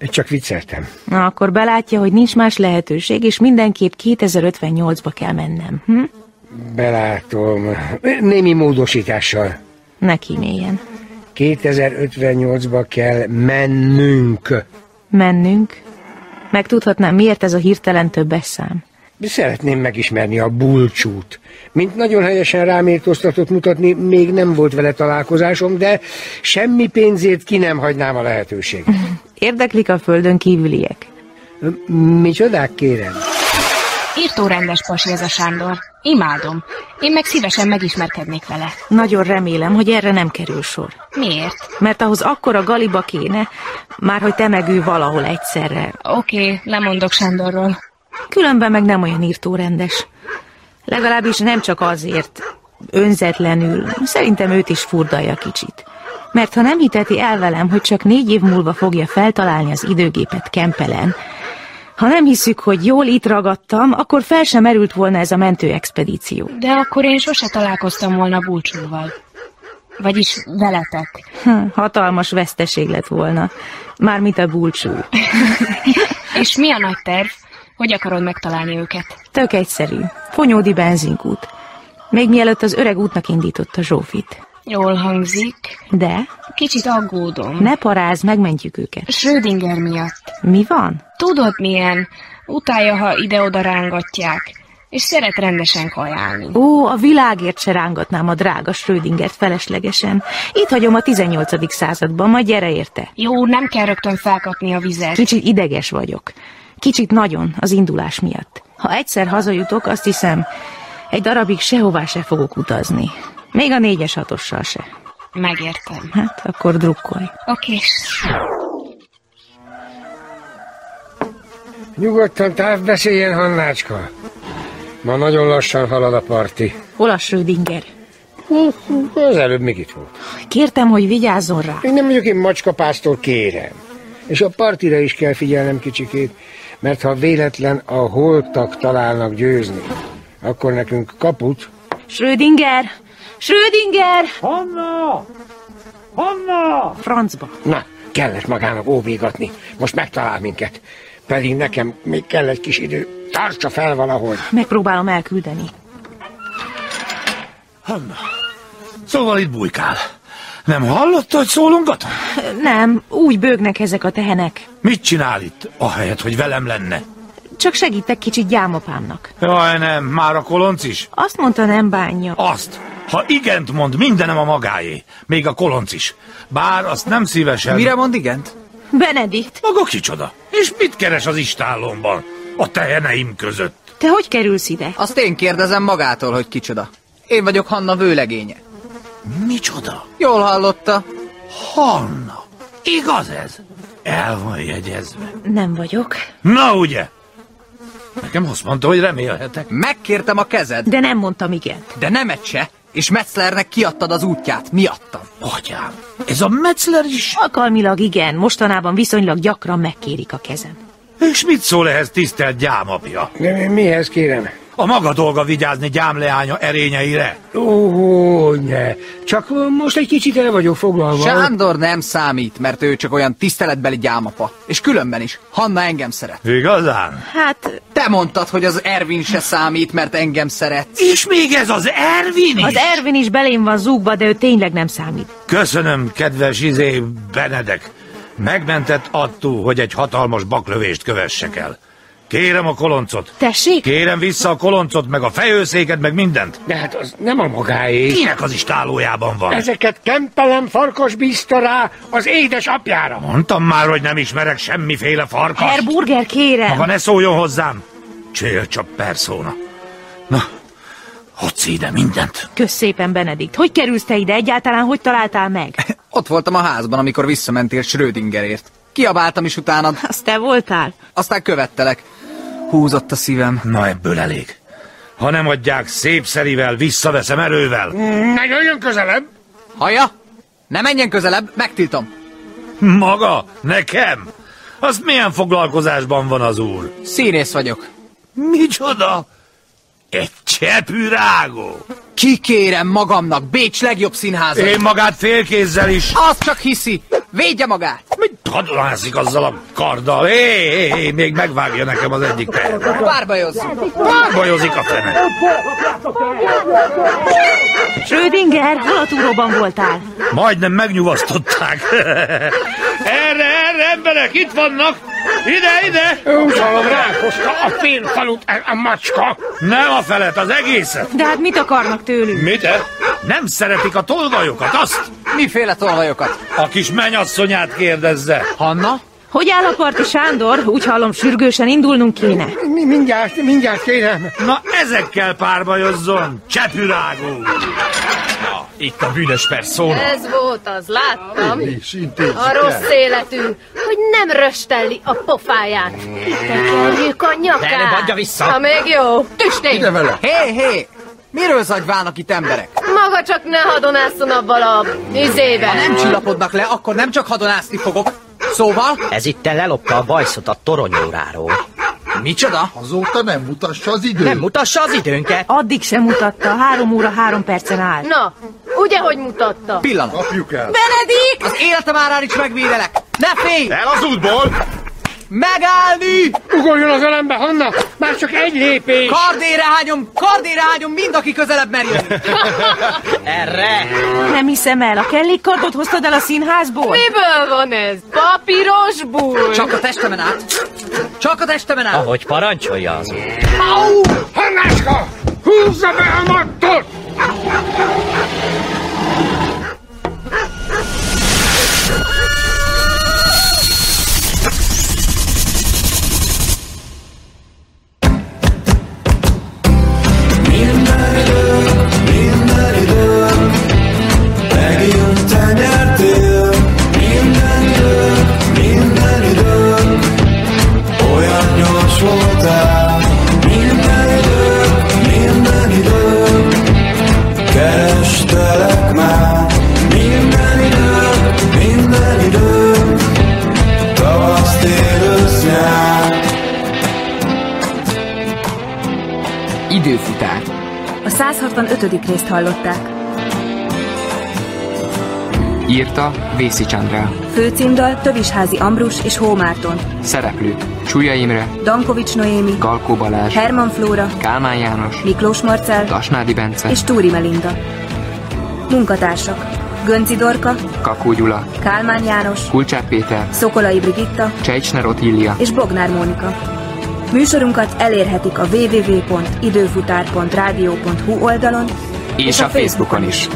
[SPEAKER 12] Csak vicceltem.
[SPEAKER 6] Na, akkor belátja, hogy nincs más lehetőség, és mindenképp 2058-ba kell mennem. Hm?
[SPEAKER 12] Belátom. Némi módosítással.
[SPEAKER 6] Ne kíméljen.
[SPEAKER 12] 2058-ba kell mennünk.
[SPEAKER 6] Mennünk? Megtudhatnám, miért ez a hirtelen többes szám.
[SPEAKER 12] Szeretném megismerni a bulcsút. Mint nagyon helyesen ráméltóztatott mutatni, még nem volt vele találkozásom, de semmi pénzét ki nem hagynám a lehetőséget.
[SPEAKER 6] Érdeklik a földön kívüliek.
[SPEAKER 12] Micsodák kérem?
[SPEAKER 7] Írtó rendes pasi ez a Sándor. Imádom. Én meg szívesen megismerkednék vele.
[SPEAKER 6] Nagyon remélem, hogy erre nem kerül sor.
[SPEAKER 7] Miért?
[SPEAKER 6] Mert ahhoz akkora galiba kéne, már hogy temegő valahol egyszerre.
[SPEAKER 7] Oké, okay, lemondok Sándorról.
[SPEAKER 6] Különben meg nem olyan írtórendes. Legalábbis nem csak azért, önzetlenül, szerintem őt is furdalja kicsit. Mert ha nem hiteti el velem, hogy csak négy év múlva fogja feltalálni az időgépet Kempelen, ha nem hiszük, hogy jól itt ragadtam, akkor fel sem merült volna ez a mentőexpedíció.
[SPEAKER 7] De akkor én sose találkoztam volna búcsúval. Vagyis veletek.
[SPEAKER 6] Hm, Hatalmas veszteség lett volna. Mármint a búcsú.
[SPEAKER 7] És mi a nagy terv? Hogy akarod megtalálni őket?
[SPEAKER 6] Tök egyszerű. Fonyódi benzinkút. Még mielőtt az öreg útnak indította Zsófit.
[SPEAKER 7] Jól hangzik.
[SPEAKER 6] De
[SPEAKER 7] Kicsit aggódom.
[SPEAKER 6] ne paráz, megmentjük őket.
[SPEAKER 7] Schrödinger miatt.
[SPEAKER 6] Mi van?
[SPEAKER 7] Tudod milyen? Utálja, ha ide-oda rángatják. És szeret rendesen kajálni.
[SPEAKER 6] Ó, a világért se rángatnám a drága Schrödingert feleslegesen. Itt hagyom a 18. században, majd gyere érte.
[SPEAKER 7] Jó, nem kell rögtön felkapni a vizet.
[SPEAKER 6] Kicsit ideges vagyok. Kicsit nagyon az indulás miatt. Ha egyszer hazajutok, azt hiszem, egy darabig sehová se fogok utazni. Még a négyes hatossal se.
[SPEAKER 7] Megértem.
[SPEAKER 6] Hát akkor drukkolj.
[SPEAKER 7] Oké.
[SPEAKER 12] Nyugodtan távbeszéljen, Hannácska. Ma nagyon lassan halad a parti.
[SPEAKER 6] Hol a Schrödinger?
[SPEAKER 12] Az előbb még itt volt.
[SPEAKER 6] Kértem, hogy vigyázzon rá.
[SPEAKER 12] Én nem vagyok én macskapásztor, kérem. És a partira is kell figyelnem kicsikét, mert ha véletlen a holtak találnak győzni, akkor nekünk kaput.
[SPEAKER 6] Schrödinger! Schrödinger!
[SPEAKER 12] Hanna! Hanna!
[SPEAKER 6] Francba!
[SPEAKER 12] Na, kellett magának óvégatni. Most megtalál minket. Pedig nekem még kell egy kis idő. Tartsa fel valahogy.
[SPEAKER 6] Megpróbálom elküldeni.
[SPEAKER 1] Hanna, szóval itt bujkál. Nem hallotta, hogy szólongatom?
[SPEAKER 6] Nem, úgy bőgnek ezek a tehenek.
[SPEAKER 1] Mit csinál itt, ahelyett, hogy velem lenne?
[SPEAKER 6] Csak segítek kicsit gyámapámnak.
[SPEAKER 1] Jaj, nem, már a kolonc is?
[SPEAKER 6] Azt mondta, nem bánja.
[SPEAKER 1] Azt, ha igent mond, mindenem a magáé. Még a kolonc is. Bár azt nem szívesen...
[SPEAKER 6] Mire
[SPEAKER 1] mond igent?
[SPEAKER 6] Benedikt,
[SPEAKER 1] Maga kicsoda. És mit keres az istállomban? A teheneim között.
[SPEAKER 6] te hogy kerülsz ide?
[SPEAKER 9] Azt én kérdezem magától, hogy kicsoda. Én vagyok Hanna vőlegénye.
[SPEAKER 1] Micsoda?
[SPEAKER 9] Jól hallotta.
[SPEAKER 1] Hanna? Igaz ez? El van jegyezve.
[SPEAKER 6] Nem vagyok.
[SPEAKER 1] Na ugye? Nekem azt mondta, hogy remélhetek.
[SPEAKER 9] Megkértem a kezed.
[SPEAKER 6] De nem mondtam igen.
[SPEAKER 9] De nem egy se, és Metzlernek kiadtad az útját, miattam.
[SPEAKER 1] Atyám, ez a Metzler is?
[SPEAKER 6] Alkalmilag igen, mostanában viszonylag gyakran megkérik a kezem.
[SPEAKER 1] És mit szól ehhez tisztelt gyámapja?
[SPEAKER 12] De mihez kérem?
[SPEAKER 1] A maga dolga vigyázni gyámleánya erényeire.
[SPEAKER 12] Ó, ne. Csak most egy kicsit el vagyok foglalva.
[SPEAKER 9] Sándor nem számít, mert ő csak olyan tiszteletbeli gyámapa. És különben is, Hanna engem szeret.
[SPEAKER 1] Igazán?
[SPEAKER 6] Hát...
[SPEAKER 9] Te mondtad, hogy az Ervin se számít, mert engem szeret.
[SPEAKER 1] És még ez az Ervin
[SPEAKER 6] Az Ervin is belém van zúgva, de ő tényleg nem számít.
[SPEAKER 1] Köszönöm, kedves izé Benedek. Megmentett attól, hogy egy hatalmas baklövést kövessek el. Kérem a koloncot.
[SPEAKER 6] Tessék?
[SPEAKER 1] Kérem vissza a koloncot, meg a fejőszéket, meg mindent.
[SPEAKER 12] De hát az nem a magáé.
[SPEAKER 1] Kinek az istálójában van?
[SPEAKER 12] Ezeket kempelem farkas bízta rá az édes apjára.
[SPEAKER 1] Mondtam már, hogy nem ismerek semmiféle farkas.
[SPEAKER 6] Herburger, kérem!
[SPEAKER 1] Maga ne szóljon hozzám. Csélcsabb perszóna. Na, hadd ide mindent.
[SPEAKER 6] Kösz szépen, Benedikt. Hogy kerülsz te ide egyáltalán? Hogy találtál meg?
[SPEAKER 9] Ott voltam a házban, amikor visszamentél Schrödingerért. Kiabáltam is utánad.
[SPEAKER 6] Azt te voltál?
[SPEAKER 9] Aztán követtelek. Húzott a szívem.
[SPEAKER 1] Na ebből elég. Ha nem adják szép szerivel, visszaveszem erővel.
[SPEAKER 12] Ne jöjjön közelebb!
[SPEAKER 9] Haja! Ne menjen közelebb, megtiltom.
[SPEAKER 1] Maga? Nekem? Az milyen foglalkozásban van az úr?
[SPEAKER 9] Színész vagyok.
[SPEAKER 1] Micsoda? Egy csepürágó?
[SPEAKER 9] Kikérem magamnak Bécs legjobb színháza.
[SPEAKER 1] Én magát félkézzel is
[SPEAKER 9] Azt csak hiszi. Védje magát.
[SPEAKER 1] hadonászik azzal a karddal. Hé, hé, hé, még megvágja nekem az egyik permet.
[SPEAKER 9] Párbajozzunk.
[SPEAKER 1] Bárbajozik a fene.
[SPEAKER 6] Schrödinger, halatúróban voltál.
[SPEAKER 1] Majdnem megnyugasztották. erre, erre, emberek, itt vannak! Ide, ide!
[SPEAKER 12] Úgy hallom, rákozta a fél falut a, a macska.
[SPEAKER 1] Nem a felet, az egészet!
[SPEAKER 6] De hát mit akarnak tőlünk?
[SPEAKER 1] Mit? eh? Nem szeretik a tolvajokat, azt?
[SPEAKER 9] Miféle tolvajokat?
[SPEAKER 1] A kis menyasszonyát kérdezze.
[SPEAKER 9] Hanna?
[SPEAKER 6] Hogy áll a parti Sándor? Úgy hallom, sürgősen indulnunk kéne.
[SPEAKER 12] Mi, mindjárt, mindjárt kérem.
[SPEAKER 1] Na ezekkel párbajozzon, csepürágó! Na, itt a bűnös perszóna.
[SPEAKER 16] Ez volt az, láttam. A rossz életű, hogy nem röstelli a pofáját. Tekerjük a nyakát.
[SPEAKER 9] Előbb adja vissza.
[SPEAKER 16] Ha még jó. Tüstény.
[SPEAKER 9] Hé, hé! Miről zagyválnak itt emberek?
[SPEAKER 16] Maga csak ne hadonásszon abban a
[SPEAKER 9] Ha
[SPEAKER 16] izében.
[SPEAKER 9] nem csillapodnak le, akkor nem csak hadonászni fogok. Szóval?
[SPEAKER 23] Ez itt te lelopta a bajszot a toronyóráról.
[SPEAKER 9] Micsoda?
[SPEAKER 25] Azóta nem mutassa az időt.
[SPEAKER 23] Nem mutassa az időnket!
[SPEAKER 6] Addig sem mutatta, három óra három percen áll.
[SPEAKER 16] Na, ugye, hogy mutatta?
[SPEAKER 9] Pillanat.
[SPEAKER 25] Kapjuk el.
[SPEAKER 16] Benedikt!
[SPEAKER 9] Az életem árán is megvédelek! Ne félj!
[SPEAKER 26] El az útból!
[SPEAKER 9] Megállni!
[SPEAKER 12] Ugorjon az ölembe, Hanna! Már csak egy lépés!
[SPEAKER 9] Kardére hányom, kardére hányom mind, aki közelebb mer jönni.
[SPEAKER 23] Erre!
[SPEAKER 6] Nem hiszem el, a kellékkardot hoztad el a színházból?
[SPEAKER 16] Miből van ez? Papíros búr.
[SPEAKER 9] Csak a testemen át. Csak a testemen át.
[SPEAKER 23] Ahogy parancsolja az úr.
[SPEAKER 12] Au! Hannáska! Húzza be a mattot!
[SPEAKER 8] Te nyertél minden idők, minden idők, olyan gyors voltál. Minden idők, minden idők, Kerestelek már minden időt, minden időt, tavasz, tél, ősz, nyár.
[SPEAKER 27] Időfutár.
[SPEAKER 2] A 165. részt hallották.
[SPEAKER 14] Írta Vészi Csandrá.
[SPEAKER 2] Főcímdal Tövisházi Ambrus és Hómárton.
[SPEAKER 14] Szereplők Csúlya Imre,
[SPEAKER 2] Dankovics Noémi,
[SPEAKER 14] Galkó Balázs,
[SPEAKER 2] Herman Flóra,
[SPEAKER 14] Kálmán János,
[SPEAKER 2] Miklós Marcell
[SPEAKER 14] Tasnádi Bence,
[SPEAKER 2] és Túri Melinda. Munkatársak Gönci Dorka,
[SPEAKER 14] Kakó Gyula,
[SPEAKER 2] Kálmán János,
[SPEAKER 14] Kulcsár Péter,
[SPEAKER 2] Szokolai Brigitta
[SPEAKER 14] Csejcsner Otília
[SPEAKER 2] és Bognár Mónika. Műsorunkat elérhetik a www.időfutár.rádió.hu oldalon
[SPEAKER 14] és a Facebookon is.